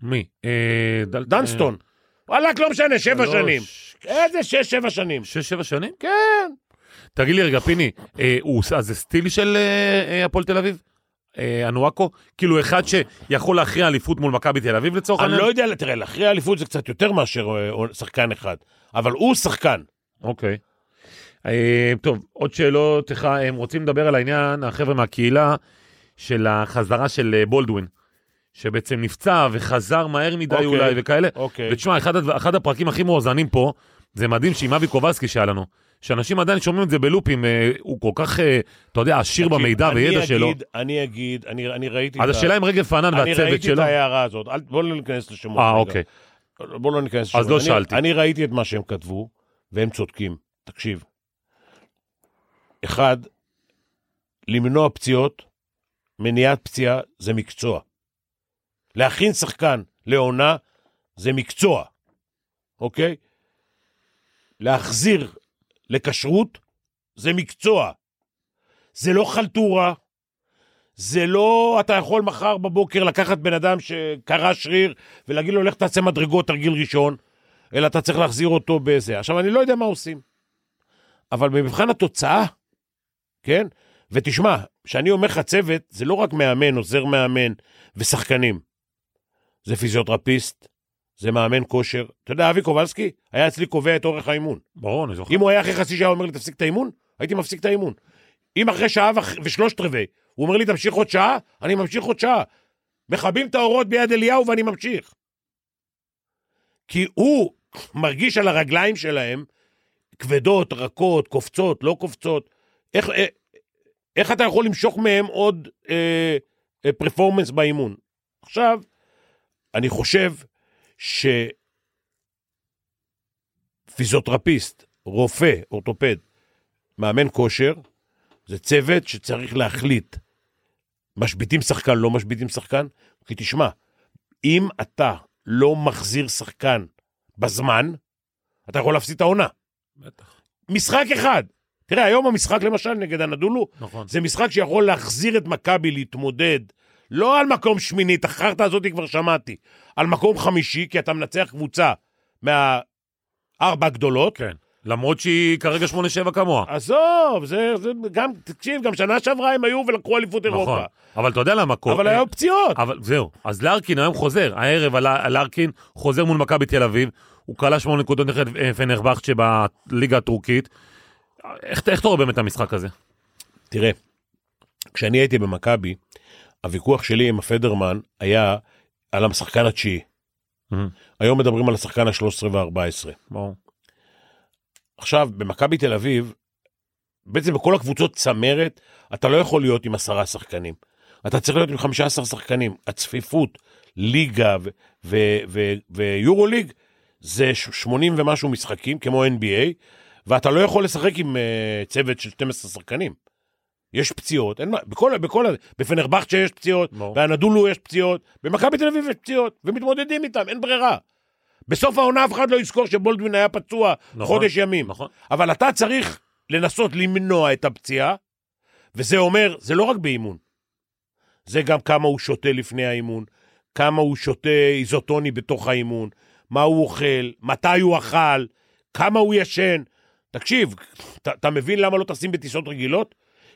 Speaker 3: מי? אה, דל-
Speaker 4: דנסטון. וואלכ, לא משנה,
Speaker 3: אה,
Speaker 4: שבע
Speaker 3: שלוש,
Speaker 4: שנים. איזה שש, שבע שנים.
Speaker 3: שש, שבע שנים?
Speaker 4: כן.
Speaker 3: תגיד לי רגע, פיני, אה, הוא, אז זה סטיל של אה, אה, הפועל תל אביב? אה, אנואקו? כאילו אחד שיכול להכריע אליפות מול מכבי תל אביב לצורך
Speaker 4: אני
Speaker 3: העניין?
Speaker 4: לא יודע, תראה, להכריע אליפות זה קצת יותר מאשר אה, שחקן אחד, אבל הוא שחקן.
Speaker 3: אוקיי. אה, טוב, עוד שאלות לך, הם רוצים לדבר על העניין, החבר'ה מהקהילה, של החזרה של אה, בולדווין, שבעצם נפצע וחזר מהר מדי
Speaker 4: אוקיי.
Speaker 3: אולי וכאלה.
Speaker 4: אוקיי.
Speaker 3: ותשמע, אחד, הדבר- אחד הפרקים הכי מאוזנים פה, זה מדהים שעם אבי קובלסקי שהיה לנו, שאנשים עדיין שומעים את זה בלופים, אה, הוא כל כך, אה, אתה יודע, עשיר
Speaker 4: תקשיב,
Speaker 3: במידע
Speaker 4: אני
Speaker 3: וידע
Speaker 4: אגיד-
Speaker 3: שלו.
Speaker 4: אני אגיד, אני אני ראיתי
Speaker 3: אז
Speaker 4: את ה-
Speaker 3: השאלה אם רגב פאנן
Speaker 4: אני
Speaker 3: והצוות
Speaker 4: ראיתי את
Speaker 3: שלו...
Speaker 4: ההערה הזאת, אל- בואו לא ניכנס לשמות.
Speaker 3: אה,
Speaker 4: רגע.
Speaker 3: אוקיי.
Speaker 4: בואו לא ניכנס לשמות.
Speaker 3: אז לא
Speaker 4: אני-
Speaker 3: שאלתי.
Speaker 4: אני ראיתי את מה שהם כתבו, והם צודקים. תקשיב. אחד, למנוע פציעות, מניעת פציעה זה מקצוע. להכין שחקן לעונה זה מקצוע, אוקיי? להחזיר לכשרות זה מקצוע. זה לא חלטורה, זה לא אתה יכול מחר בבוקר לקחת בן אדם שקרע שריר ולהגיד לו לך תעשה מדרגות תרגיל ראשון, אלא אתה צריך להחזיר אותו בזה. עכשיו, אני לא יודע מה עושים, אבל במבחן התוצאה, כן? ותשמע, כשאני אומר לך צוות, זה לא רק מאמן, עוזר מאמן ושחקנים. זה פיזיותרפיסט, זה מאמן כושר. אתה יודע, אבי קובלסקי היה אצלי קובע את אורך האימון.
Speaker 3: ברור, נכון, אני זוכר.
Speaker 4: אם הוא היה אחרי חצי שעה אומר לי תפסיק את האימון, הייתי מפסיק את האימון. אם אחרי שעה וח- ושלושת רבעי הוא אומר לי תמשיך עוד שעה, אני ממשיך עוד שעה. מכבים את האורות ביד אליהו ואני ממשיך. כי הוא מרגיש על הרגליים שלהם כבדות, רכות, קופצות, לא קופצות. איך, אה, איך אתה יכול למשוך מהם עוד אה, אה, פרפורמנס באימון? עכשיו, אני חושב ש... פיזיותרפיסט, רופא, אורתופד, מאמן כושר, זה צוות שצריך להחליט. משביתים שחקן, לא משביתים שחקן? כי תשמע, אם אתה לא מחזיר שחקן בזמן, אתה יכול להפסיד את העונה.
Speaker 3: בטח,
Speaker 4: משחק אחד. תראה, היום המשחק למשל נגד הנדולו,
Speaker 3: נכון.
Speaker 4: זה משחק שיכול להחזיר את מכבי להתמודד, לא על מקום שמיני, את החרטא הזאת כבר שמעתי, על מקום חמישי, כי אתה מנצח קבוצה מהארבע הגדולות,
Speaker 3: כן. למרות שהיא כרגע 8-7 כמוה.
Speaker 4: עזוב, זה, זה גם, תקשיב, גם שנה שעברה הם היו ולקחו אליפות
Speaker 3: נכון.
Speaker 4: אירופה.
Speaker 3: אבל אתה יודע למה...
Speaker 4: אבל היו פציעות.
Speaker 3: אבל זהו, אז לארקין היום חוזר, הערב על- על לארקין חוזר מול מכבי תל אביב, הוא כלה 8 נקודות נגד אה, פנרבכצ'ה בליגה הטורקית. איך איך אתה רואה באמת את המשחק הזה?
Speaker 4: תראה, כשאני הייתי במכבי, הוויכוח שלי עם הפדרמן היה על השחקן התשיעי.
Speaker 3: מהמם.
Speaker 4: היום מדברים על השחקן ה-13 וה-14.
Speaker 3: ברור.
Speaker 4: עכשיו, במכבי תל אביב, בעצם בכל הקבוצות צמרת, אתה לא יכול להיות עם עשרה שחקנים. אתה צריך להיות עם 15 שחקנים. הצפיפות, ליגה ו- ו- ו- ויורו ליג, זה ש- 80 ומשהו משחקים, כמו NBA, ואתה לא יכול לשחק עם uh, צוות של 12 שחקנים. יש פציעות, אין מה, בכל, בכל, ה- בפנרבכצ'ה יש פציעות,
Speaker 3: ברור.
Speaker 4: באנדולו יש פציעות, במכבי תל אביב יש פציעות, ומתמודדים איתם, אין ברירה. בסוף העונה אף אחד לא יזכור שבולדווין היה פצוע
Speaker 3: נכון,
Speaker 4: חודש ימים.
Speaker 3: נכון.
Speaker 4: אבל אתה צריך לנסות למנוע את הפציעה, וזה אומר, זה לא רק באימון, זה גם כמה הוא שותה לפני האימון, כמה הוא שותה איזוטוני בתוך האימון, מה הוא אוכל, מתי הוא אכל, כמה הוא ישן. תקשיב, אתה- אתה מבין למה לא טסים בטיסות רגילות?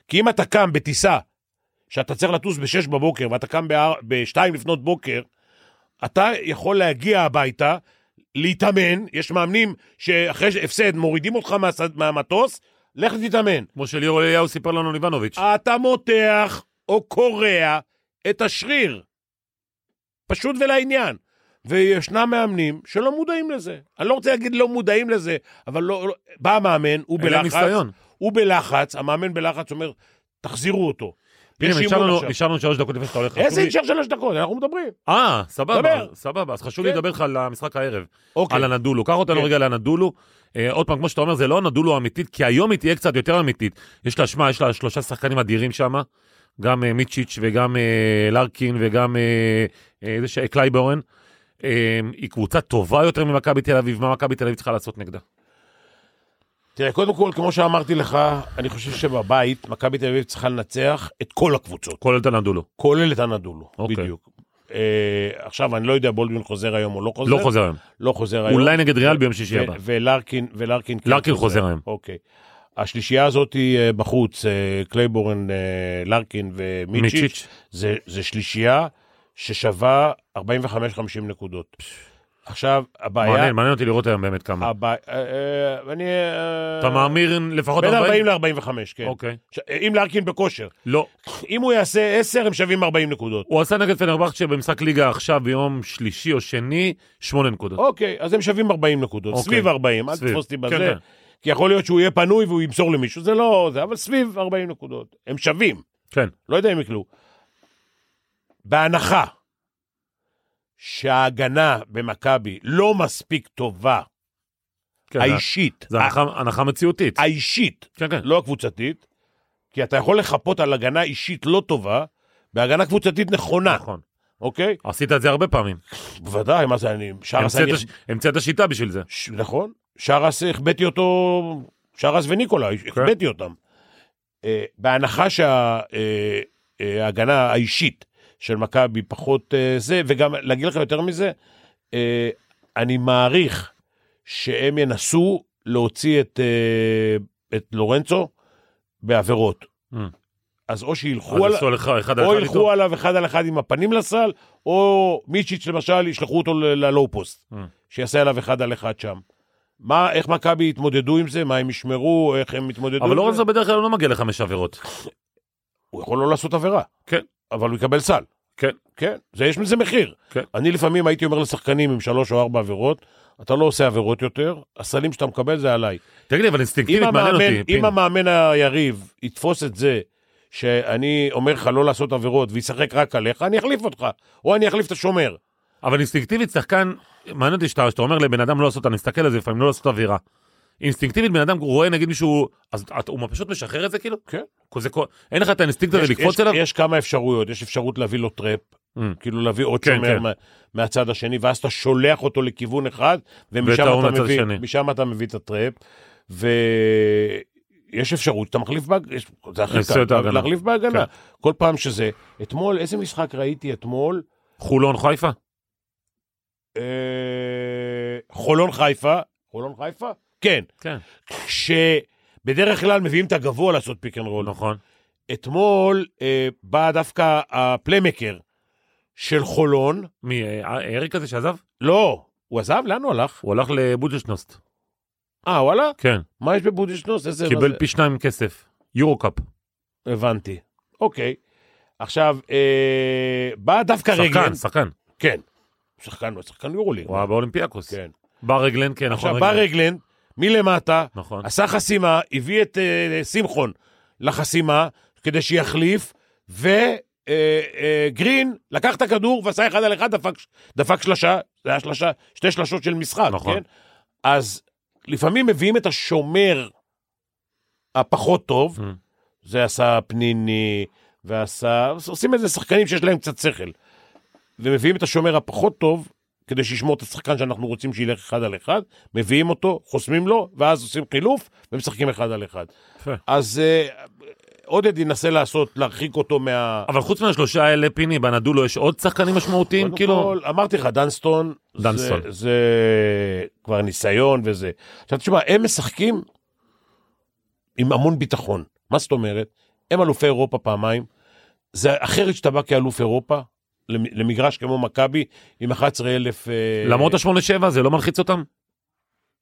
Speaker 4: כי אם אתה קם בטיסה, שאתה צריך לטוס ב-6 בבוקר ואתה קם ב-2 לפנות בוקר, אתה יכול להגיע הביתה, להתאמן, יש מאמנים שאחרי הפסד מורידים אותך מהס- מהמטוס, לך תתאמן.
Speaker 3: כמו שליאור אליהו סיפר לנו ליבנוביץ'.
Speaker 4: אתה מותח או קורע את השריר. פשוט ולעניין. וישנם מאמנים שלא מודעים לזה. אני לא רוצה להגיד לא מודעים לזה, אבל לא, לא בא המאמן, הוא
Speaker 3: אין להם
Speaker 4: בלחץ,
Speaker 3: ניסיון.
Speaker 4: הוא בלחץ, המאמן בלחץ אומר, תחזירו אותו.
Speaker 3: הנה,
Speaker 4: יש אימון
Speaker 3: נשאר לנו-
Speaker 4: עכשיו.
Speaker 3: נשאר לנו שלוש דקות לפני שאתה הולך. חשוב
Speaker 4: איזה
Speaker 3: לי-
Speaker 4: נשאר שלוש דקות? אנחנו מדברים.
Speaker 3: אה, סבבה,
Speaker 4: דבר.
Speaker 3: סבבה. אז חשוב לי
Speaker 4: כן.
Speaker 3: לדבר לך על המשחק הערב.
Speaker 4: אוקיי.
Speaker 3: על הנדולו. קח אותנו
Speaker 4: כן.
Speaker 3: רגע לנדולו. אה, עוד פעם, כמו שאתה אומר, זה לא הנדולו האמיתית, כי היום היא תהיה קצת יותר אמיתית. יש לה, שמע, יש לה שלושה שחקנים אדירים שם, גם אה, מיצ'יץ' וגם אה, לארקין וגם אה, אה, זה ש- קלייברן. אה, היא קבוצה טובה יותר ממכבי תל אביב, מה מכבי תל אביב צריכה לעשות נגדה?
Speaker 4: תראה, קודם כל, כמו שאמרתי לך, אני חושב שבבית, מכבי תל אביב צריכה לנצח את כל הקבוצות,
Speaker 3: כולל את הנדולו.
Speaker 4: כולל את הנדולו,
Speaker 3: אוקיי.
Speaker 4: בדיוק. אה, עכשיו, אני לא יודע בולדווין חוזר היום או לא חוזר.
Speaker 3: לא חוזר היום.
Speaker 4: לא חוזר היום.
Speaker 3: אולי נגד ריאל ביום שישי
Speaker 4: ו-
Speaker 3: הבא.
Speaker 4: ולארקין, ולארקין כן
Speaker 3: לארקין חוזר היום.
Speaker 4: אוקיי. השלישייה הזאת היא אה, בחוץ, אה, קלייבורן, אה, לארקין ומיצ'יץ',
Speaker 3: מיצ'יץ'.
Speaker 4: זה, זה שלישייה ששווה 45-50 נקודות. עכשיו, הבעיה...
Speaker 3: מעניין, מעניין אותי לראות היום באמת כמה.
Speaker 4: הבע... אה, אה, אני... אה,
Speaker 3: אתה מאמיר לפחות
Speaker 4: בין 40
Speaker 3: 40?
Speaker 4: ל-45, כן.
Speaker 3: אוקיי.
Speaker 4: ש- אה, אם לארקין בכושר.
Speaker 3: לא.
Speaker 4: אם הוא יעשה 10, הם שווים 40 נקודות.
Speaker 3: הוא עשה נגד פנרבכצ'ה במשחק ליגה עכשיו ביום שלישי או שני, שמונה נקודות.
Speaker 4: אוקיי, אז הם שווים 40 נקודות,
Speaker 3: אוקיי.
Speaker 4: סביב 40, אל
Speaker 3: סביב.
Speaker 4: תתפוס אותי
Speaker 3: כן,
Speaker 4: בזה,
Speaker 3: כן.
Speaker 4: כי יכול להיות שהוא יהיה פנוי והוא ימסור למישהו, זה לא זה, אבל סביב 40 נקודות, הם שווים,
Speaker 3: כן.
Speaker 4: לא יודע אם יקלו. בהנחה שההגנה במכבי לא מספיק טובה,
Speaker 3: כן,
Speaker 4: האישית,
Speaker 3: זה הנחה- הנחה מציאותית.
Speaker 4: האישית,
Speaker 3: כן, כן.
Speaker 4: לא הקבוצתית, כי אתה יכול לחפות על הגנה אישית לא טובה, בהגנה קבוצתית נכונה,
Speaker 3: נכון.
Speaker 4: אוקיי?
Speaker 3: עשית את זה הרבה פעמים.
Speaker 4: בוודאי, מה זה, אני... שער
Speaker 3: המצאת
Speaker 4: הסניה-
Speaker 3: ש- המצאת שיטה בשביל זה.
Speaker 4: ש... נכון, שרס, החבאתי אותו, שרס וניקולאי,
Speaker 3: כן.
Speaker 4: החבאתי אותם. אה, בהנחה שההגנה אה, אה, ההגנה האישית של מכבי פחות אה, זה, וגם להגיד לך יותר מזה, אה, אני מעריך שהם ינסו להוציא את, אה, את לורנצו בעבירות.
Speaker 3: Mm.
Speaker 4: אז או שילכו
Speaker 3: אז
Speaker 4: על...
Speaker 3: עשו לך אחד על
Speaker 4: או
Speaker 3: אחד
Speaker 4: ילכו
Speaker 3: איתו.
Speaker 4: עליו אחד על אחד עם הפנים לסל, או מיצ'יץ' למשל, ישלחו אותו ל- ללואו פוסט,
Speaker 3: Mm.
Speaker 4: שיעשה עליו אחד על אחד שם. מה, איך מכבי יתמודדו עם זה, מה הם ישמרו, איך הם יתמודדו
Speaker 3: אבל
Speaker 4: עם
Speaker 3: לורנזו
Speaker 4: זה.
Speaker 3: בדרך כלל לא מגיע לחמש עבירות.
Speaker 4: הוא יכול לא לעשות עבירה.
Speaker 3: כן.
Speaker 4: אבל הוא יקבל סל.
Speaker 3: כן.
Speaker 4: כן, זה יש מזה מחיר.
Speaker 3: כן.
Speaker 4: אני לפעמים הייתי אומר לשחקנים עם שלוש או ארבע עבירות, אתה לא עושה עבירות יותר, הסלים שאתה מקבל זה עליי.
Speaker 3: תגיד לי, אבל
Speaker 4: אם
Speaker 3: אינסטינקטיבית מעניין
Speaker 4: המאמן,
Speaker 3: אותי.
Speaker 4: אם
Speaker 3: פיני.
Speaker 4: המאמן היריב יתפוס את זה שאני אומר לך לא לעשות עבירות וישחק רק עליך, אני אחליף אותך, או אני אחליף את השומר.
Speaker 3: אבל אינסטינקטיבית שחקן, מעניין אותי שאתה שאתה אומר לבן אדם לא לעשות, אני מסתכל על זה לפעמים, לא לעשות עבירה. אינסטינקטיבית בן אדם רואה נגיד מישהו, אז את- הוא פשוט משחרר את זה כאילו?
Speaker 4: כן.
Speaker 3: זה כל- אין לך את האינסטינקט הזה
Speaker 4: יש-
Speaker 3: לקפוץ
Speaker 4: יש-
Speaker 3: אליו?
Speaker 4: יש כמה אפשרויות, יש אפשרות להביא לו טראפ,
Speaker 3: Mm.
Speaker 4: כאילו להביא עוד
Speaker 3: כן,
Speaker 4: שומר
Speaker 3: כן.
Speaker 4: מה- מהצד השני, ואז אתה שולח אותו לכיוון אחד,
Speaker 3: ואת
Speaker 4: ומשם
Speaker 3: ההוא
Speaker 4: אתה
Speaker 3: מהצד
Speaker 4: מביא-
Speaker 3: השני.
Speaker 4: משם אתה מביא את הטראפ, ויש אפשרות, אתה מחליף בהגנה, זה הכי
Speaker 3: לעשות את
Speaker 4: קל,
Speaker 3: ההגנה.
Speaker 4: להחליף בהגנה,
Speaker 3: כן.
Speaker 4: כל פעם שזה. אתמול, איזה משחק ראיתי אתמול?
Speaker 3: חולון חיפה?
Speaker 4: אה, חולון חיפה, חולון חיפה? כן,
Speaker 3: כן.
Speaker 4: שבדרך כלל מביאים את הגבוה לעשות פיק אנד רול.
Speaker 3: נכון.
Speaker 4: אתמול אה, בא דווקא הפליימקר של חולון,
Speaker 3: מי, אה, אריק הזה שעזב?
Speaker 4: לא, הוא עזב? לאן הוא הלך?
Speaker 3: הוא הלך לבודג'שנוסט.
Speaker 4: אה, וואלה?
Speaker 3: כן.
Speaker 4: מה יש בבודשנוס? איזה... כן, מה
Speaker 3: קיבל
Speaker 4: זה?
Speaker 3: פי שניים כסף. יורו קאפ.
Speaker 4: הבנתי. אוקיי. עכשיו, אה, בא דווקא רגלן.
Speaker 3: שחקן, שחקן.
Speaker 4: כן. שחקן, הוא שחקן יורוליג.
Speaker 3: הוא היה באולימפיאקוס.
Speaker 4: כן.
Speaker 3: בר רגלן, כן, נכון.
Speaker 4: עכשיו, בא רגלן, מלמטה,
Speaker 3: נכון.
Speaker 4: עשה חסימה, הביא את אה, שמחון לחסימה כדי שיחליף, וגרין אה, אה, גרין לקח את הכדור ועשה אחד על אחד, דפק, דפק שלשה, זה היה שלשה, שתי שלשות של משחק,
Speaker 3: נכון.
Speaker 4: כן? אז לפעמים מביאים את השומר הפחות טוב,
Speaker 3: Mm.
Speaker 4: זה עשה פניני, ועשה, עושים את זה שחקנים שיש להם קצת שכל. ומביאים את השומר הפחות טוב, כדי שישמור את השחקן שאנחנו רוצים שילך אחד על אחד, מביאים אותו, חוסמים לו, ואז עושים חילוף, ומשחקים אחד על אחד.
Speaker 3: יפה.
Speaker 4: אז אה, עודד ינסה לעשות, להרחיק אותו מה...
Speaker 3: אבל חוץ מהשלושה האלה, פיני, בנדולו יש עוד שחקנים משמעותיים?
Speaker 4: קודם
Speaker 3: כאילו...
Speaker 4: כל, אמרתי לך, דנסטון,
Speaker 3: דנסטון.
Speaker 4: זה, זה כבר ניסיון וזה. עכשיו תשמע, הם משחקים עם המון ביטחון. מה זאת אומרת? הם אלופי אירופה פעמיים. זה אחרת שאתה בא כאלוף אירופה, למ- למגרש כמו מכבי, עם 11,000... אה,
Speaker 3: למרות השמונה שבע זה לא מלחיץ אותם?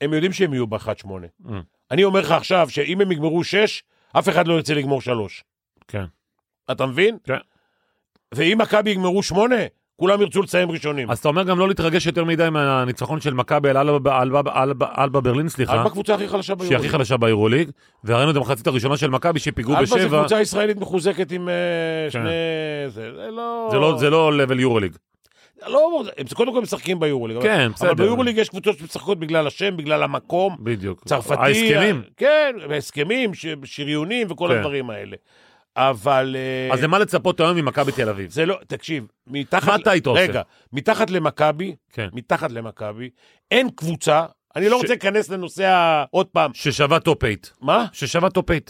Speaker 4: הם יודעים שהם יהיו ב-1-8.
Speaker 3: Mm.
Speaker 4: אני אומר לך עכשיו, שאם הם יגמרו 6, אף אחד לא ירצה לגמור 3.
Speaker 3: כן.
Speaker 4: אתה מבין?
Speaker 3: כן.
Speaker 4: ואם מכבי יגמרו 8, כולם ירצו לסיים ראשונים.
Speaker 3: אז אתה אומר גם לא להתרגש יותר מדי מהניצחון של מכבי על אלבה- אלבה- אלבה- אלבה ברלין,
Speaker 4: רק
Speaker 3: סליחה,
Speaker 4: בקבוצה הכי חלשה
Speaker 3: שהיא הכי
Speaker 4: ביורוליג.
Speaker 3: חלשה ביורוליג, וראינו את המחצית הראשונה של מכבי שפיגעו
Speaker 4: אלבה זה
Speaker 3: בשבע,
Speaker 4: קבוצה ישראלית מחוזקת עם אה,
Speaker 3: כן.
Speaker 4: שני... זה זה לא...
Speaker 3: זה לא- זה לא לבל יורוליג.
Speaker 4: לא, הם קודם כל משחקים ביורוליג. אבל-
Speaker 3: כן, בסדר.
Speaker 4: אבל ביורוליג יש קבוצות שמשחקות בגלל השם, בגלל המקום.
Speaker 3: בדיוק.
Speaker 4: צרפתי...
Speaker 3: ההסכמים.
Speaker 4: כן, הסכמים, ש- שריונים וכל
Speaker 3: כן.
Speaker 4: הדברים האלה. אבל... אה,
Speaker 3: אז למה לצפות היום ממכבי תל אביב?
Speaker 4: זה לא, תקשיב, מתחת...
Speaker 3: מה אתה היית עושה?
Speaker 4: רגע, מתחת למכבי,
Speaker 3: כן.
Speaker 4: מתחת למכבי, אין קבוצה, אני לא
Speaker 3: ש-
Speaker 4: רוצה להיכנס לנושא ה... עוד פעם,
Speaker 3: ששווה טופ 8.
Speaker 4: מה?
Speaker 3: ששווה טופ 8.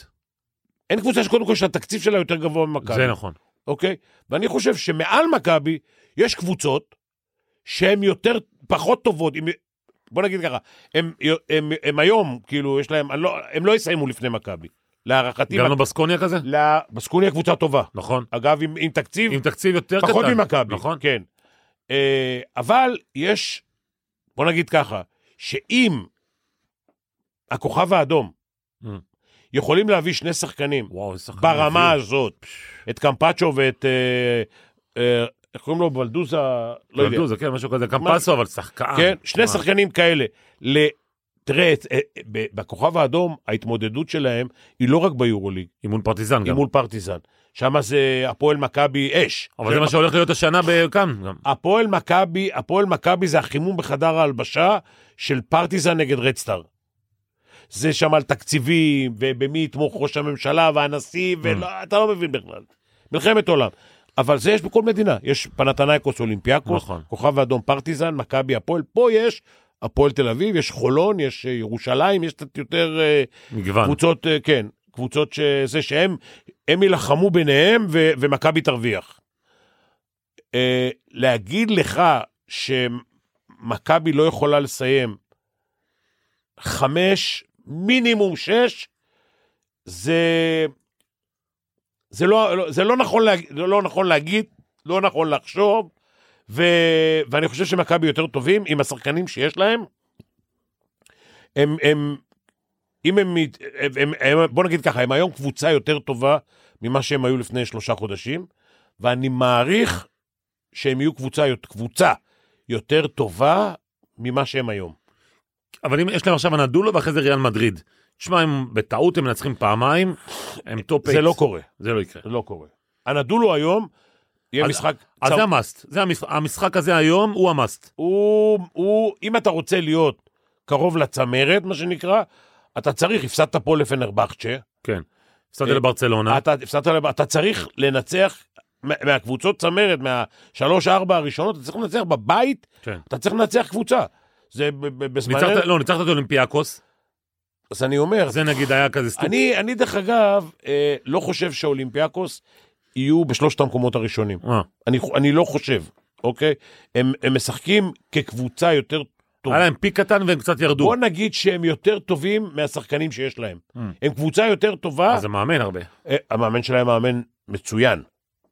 Speaker 4: אין קבוצה שקודם כל שהתקציב שלה יותר גבוה ממכבי.
Speaker 3: זה נכון.
Speaker 4: אוקיי? ואני חושב שמעל מכבי יש קבוצות שהן יותר, פחות טובות, עם, בוא נגיד ככה, הם, הם, הם, הם היום, כאילו, יש להם, אני לא, הם לא יסיימו לפני מכבי. להערכתי,
Speaker 3: גם לבסקוניה כזה?
Speaker 4: לה- בסקוניה קבוצה טובה.
Speaker 3: נכון.
Speaker 4: אגב, עם, עם תקציב
Speaker 3: עם תקציב יותר קטן.
Speaker 4: פחות ממכבי,
Speaker 3: נכון.
Speaker 4: כן. אה, אבל יש, בוא נגיד ככה, שאם הכוכב האדום
Speaker 3: Mm.
Speaker 4: יכולים להביא שני שחקנים
Speaker 3: וואו, איזה שחקן.
Speaker 4: ברמה
Speaker 3: מדהים.
Speaker 4: הזאת, את קמפצ'ו ואת, אה, אה, איך קוראים לו? בלדוזה, לא יודע.
Speaker 3: גלדוז, כן, משהו כזה. קמפסו, אבל שחקן.
Speaker 4: כן, שני
Speaker 3: מה?
Speaker 4: שחקנים כאלה. ל- תראה, את- אה, אה, ב- בכוכב האדום ההתמודדות שלהם היא לא רק ביורוליג,
Speaker 3: היא מול פרטיזן
Speaker 4: היא
Speaker 3: גם.
Speaker 4: מול פרטיזן. שם זה הפועל מכבי אש.
Speaker 3: אבל זה מה שהולך להיות השנה בכאן. גם.
Speaker 4: הפועל מכבי, הפועל מכבי זה החימום בחדר ההלבשה של פרטיזן נגד רדסטאר. זה שם על תקציבים, ובמי יתמוך ראש הממשלה
Speaker 3: Mm.
Speaker 4: והנשיא, ואתה לא מבין בכלל. מלחמת עולם. אבל זה יש בכל מדינה. יש פנתנייקוס אולימפיאקוס,
Speaker 3: נכון.
Speaker 4: כוכב האדום פרטיזן, מכבי הפועל. פה יש הפועל תל אביב, יש חולון, יש אה, ירושלים, יש קצת יותר אה,
Speaker 3: מגוון.
Speaker 4: קבוצות, אה, כן, קבוצות שזה שהם, הם יילחמו ביניהם ו- ומכבי תרוויח. אה, להגיד לך שמכבי לא יכולה לסיים חמש, מינימום שש, זה... זה לא, לא- זה לא נכון, להג, לא נכון להגיד, לא נכון לחשוב, ו, ואני חושב שמכבי יותר טובים עם השחקנים שיש להם. הם, הם, אם הם, מת- הם, הם, הם, בוא נגיד ככה, הם היום קבוצה יותר טובה ממה שהם היו לפני שלושה חודשים, ואני מעריך שהם יהיו קבוצה, קבוצה יותר טובה ממה שהם היום.
Speaker 3: אבל אם יש להם עכשיו אנדולו ואחרי זה ריאל מדריד. תשמע, אם בטעות הם מנצחים פעמיים, הם טופ
Speaker 4: זה
Speaker 3: אייט.
Speaker 4: לא קורה,
Speaker 3: זה לא יקרה.
Speaker 4: זה לא קורה. הנדולו היום יהיה
Speaker 3: אז-
Speaker 4: משחק...
Speaker 3: אז
Speaker 4: צר-
Speaker 3: זה המאסט. זה המש- המשחק הזה היום הוא המאסט.
Speaker 4: הוא, הוא, אם אתה רוצה להיות קרוב לצמרת, מה שנקרא, אתה צריך, הפסדת פה לפנרבכצ'ה,
Speaker 3: כן. הפסדת
Speaker 4: אה,
Speaker 3: לברצלונה.
Speaker 4: אתה, הפסדת, לב- אתה צריך לנצח מה- מהקבוצות צמרת, מהשלוש-ארבע הראשונות, אתה צריך לנצח בבית,
Speaker 3: כן.
Speaker 4: אתה צריך לנצח קבוצה. זה ב- ב- בזמננו,
Speaker 3: ניצחת, לא, ניצחת את אולימפיאקוס.
Speaker 4: אז אני אומר,
Speaker 3: זה נגיד היה כזה סטופ.
Speaker 4: אני, אני דרך אגב, אה, לא חושב שאולימפיאקוס יהיו בשלושת המקומות הראשונים.
Speaker 3: אה.
Speaker 4: אני, אני לא חושב, אוקיי? הם, הם משחקים כקבוצה יותר טובה.
Speaker 3: היה להם פיק קטן והם קצת ירדו.
Speaker 4: בוא נגיד שהם יותר טובים מהשחקנים שיש להם.
Speaker 3: Mm.
Speaker 4: הם קבוצה יותר טובה,
Speaker 3: אז זה מאמן הרבה.
Speaker 4: אה, המאמן שלהם מאמן מצוין.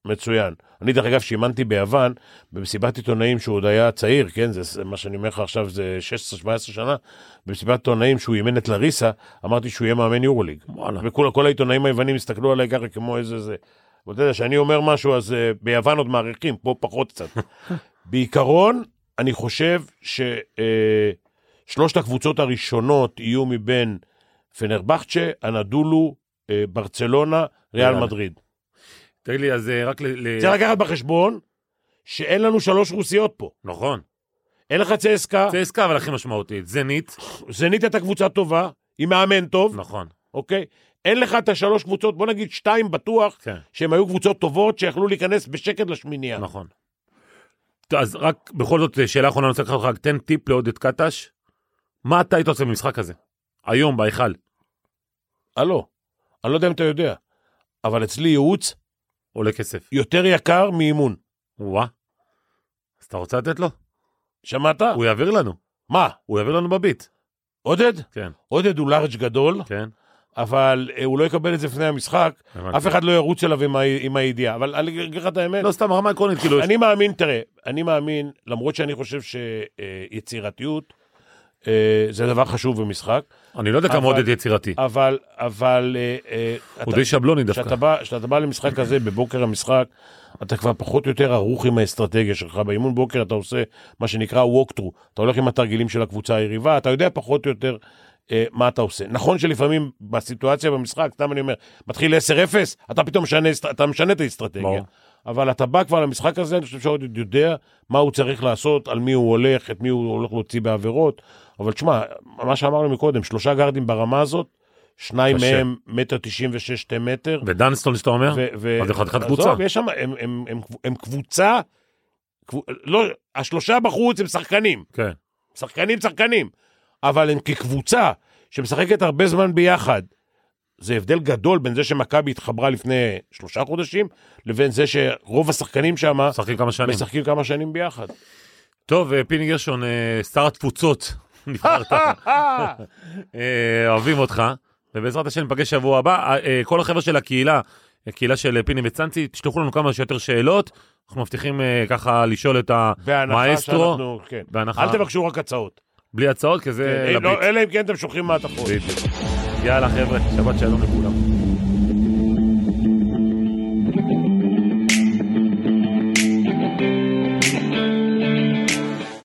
Speaker 4: מצוין. אני דרך אגב שימנתי ביוון במסיבת עיתונאים שהוא עוד היה צעיר, כן? זה- זה מה שאני אומר לך עכשיו זה 16-17 שנה. במסיבת עיתונאים שהוא אימן את לריסה, אמרתי שהוא יהיה מאמן יורוליג.
Speaker 3: וואלה.
Speaker 4: וכל כל העיתונאים היוונים הסתכלו עליי ככה כמו איזה זה. אבל אתה יודע, כשאני אומר משהו אז אה, ביוון עוד מעריכים, פה פחות קצת. בעיקרון, אני חושב ששלושת הקבוצות הראשונות יהיו מבין פנרבכצ'ה, אנדולו, אה, ברצלונה, ריאל
Speaker 3: ריאל.
Speaker 4: מדריד.
Speaker 3: תגיד לי, אז אה, רק ל... ל-
Speaker 4: צריך לקחת בחשבון שאין לנו שלוש רוסיות פה.
Speaker 3: נכון.
Speaker 4: אה. אין לך צסקה,
Speaker 3: זה עסקה, אבל הכי משמעותית. זנית.
Speaker 4: זנית הייתה קבוצה טובה, היא מאמן טוב,
Speaker 3: נכון.
Speaker 4: אוקיי? אין לך את השלוש קבוצות, בוא נגיד שתיים בטוח,
Speaker 3: כן.
Speaker 4: שהן היו קבוצות טובות שיכלו להיכנס בשקט לשמינייה.
Speaker 3: נכון. טוב, אז רק בכל זאת, אה, שאלה אחרונה, אני רוצה לקחת אותך, רק תן טיפ לעודד קטש. מה אתה היית עושה במשחק הזה? היום, בהיכל.
Speaker 4: הלו, אני לא יודע אם אתה יודע, אבל אצלי ייעוץ
Speaker 3: עולה כסף.
Speaker 4: יותר יקר מאימון.
Speaker 3: וואה. אז אתה רוצה לתת לו?
Speaker 4: שמעת?
Speaker 3: הוא יעביר לנו.
Speaker 4: מה,
Speaker 3: הוא יעביר לנו בביט.
Speaker 4: עודד?
Speaker 3: כן,
Speaker 4: עודד הוא לארג' גדול,
Speaker 3: כן.
Speaker 4: אבל אה, הוא לא יקבל את זה לפני המשחק,
Speaker 3: הבנתי.
Speaker 4: אף אחד לא ירוץ אליו עם ה- עם הידיעה. אבל אני אגיד לך את האמת,
Speaker 3: לא, סתם הרמה עקרונית, כאילו... יש-
Speaker 4: אני מאמין, תראה, אני מאמין, למרות שאני חושב שיצירתיות אה, זה דבר חשוב במשחק,
Speaker 3: אני לא יודע כמה
Speaker 4: אבל-
Speaker 3: עודד יצירתי.
Speaker 4: אבל, אבל... אה, אה,
Speaker 3: הוא
Speaker 4: אתה-
Speaker 3: די שבלוני דווקא.
Speaker 4: כשאתה בא, כשאתה בא למשחק הזה בבוקר המשחק, אתה כבר פחות או יותר ערוך עם האסטרטגיה שלך. באימון בוקר אתה עושה מה שנקרא walk-through. אתה הולך עם התרגילים של הקבוצה היריבה, אתה יודע פחות או יותר אה, מה אתה עושה. נכון שלפעמים בסיטואציה במשחק, סתם אני אומר, מתחיל 10-0, אתה פתאום משנה, אסט- אתה משנה את האסטרטגיה.
Speaker 3: ברור.
Speaker 4: אבל אתה בא כבר למשחק הזה, אני חושב שעודד יודע מה הוא צריך לעשות, על מי הוא הולך, את מי הוא הולך להוציא בעבירות. אבל תשמע, מה שאמרנו מקודם, שלושה גארדים ברמה הזאת, שניים
Speaker 3: קשה.
Speaker 4: מהם מטר תשעים ושש, שתי מטר.
Speaker 3: ודנסטון שאתה אומר?
Speaker 4: ו- ו-
Speaker 3: אז זה חתיכת
Speaker 4: עזוב,
Speaker 3: קבוצה.
Speaker 4: יש שם, הם, הם, הם, הם קבוצה, קב- לא, השלושה בחוץ הם שחקנים,
Speaker 3: כן.
Speaker 4: שחקנים שחקנים, אבל הם כקבוצה שמשחקת הרבה זמן ביחד, זה הבדל גדול בין זה שמכבי התחברה לפני שלושה חודשים, לבין זה שרוב השחקנים שם
Speaker 3: משחקים כמה שנים.
Speaker 4: משחקים כמה שנים ביחד.
Speaker 3: טוב, אה, פיני גרשון, אה, שר התפוצות, נבחרת. אה, אוהבים אותך, ובעזרת השם ניפגש שבוע הבא. אה, אה, כל החבר'ה של הקהילה, הקהילה של אה, פיני וצאנצי, תשלחו לנו כמה שיותר שאלות, אנחנו מבטיחים אה, ככה לשאול את
Speaker 4: בהנחה
Speaker 3: המאסטרו,
Speaker 4: שאנחנו, כן.
Speaker 3: בהנחה,
Speaker 4: אל תבקשו רק הצעות.
Speaker 3: בלי הצעות, כי זה
Speaker 4: אה,
Speaker 3: לביט.
Speaker 4: לא, אלא אם כן אתם שולחים מעטפות.
Speaker 3: יאללה חבר'ה, שבת שלום לכולם.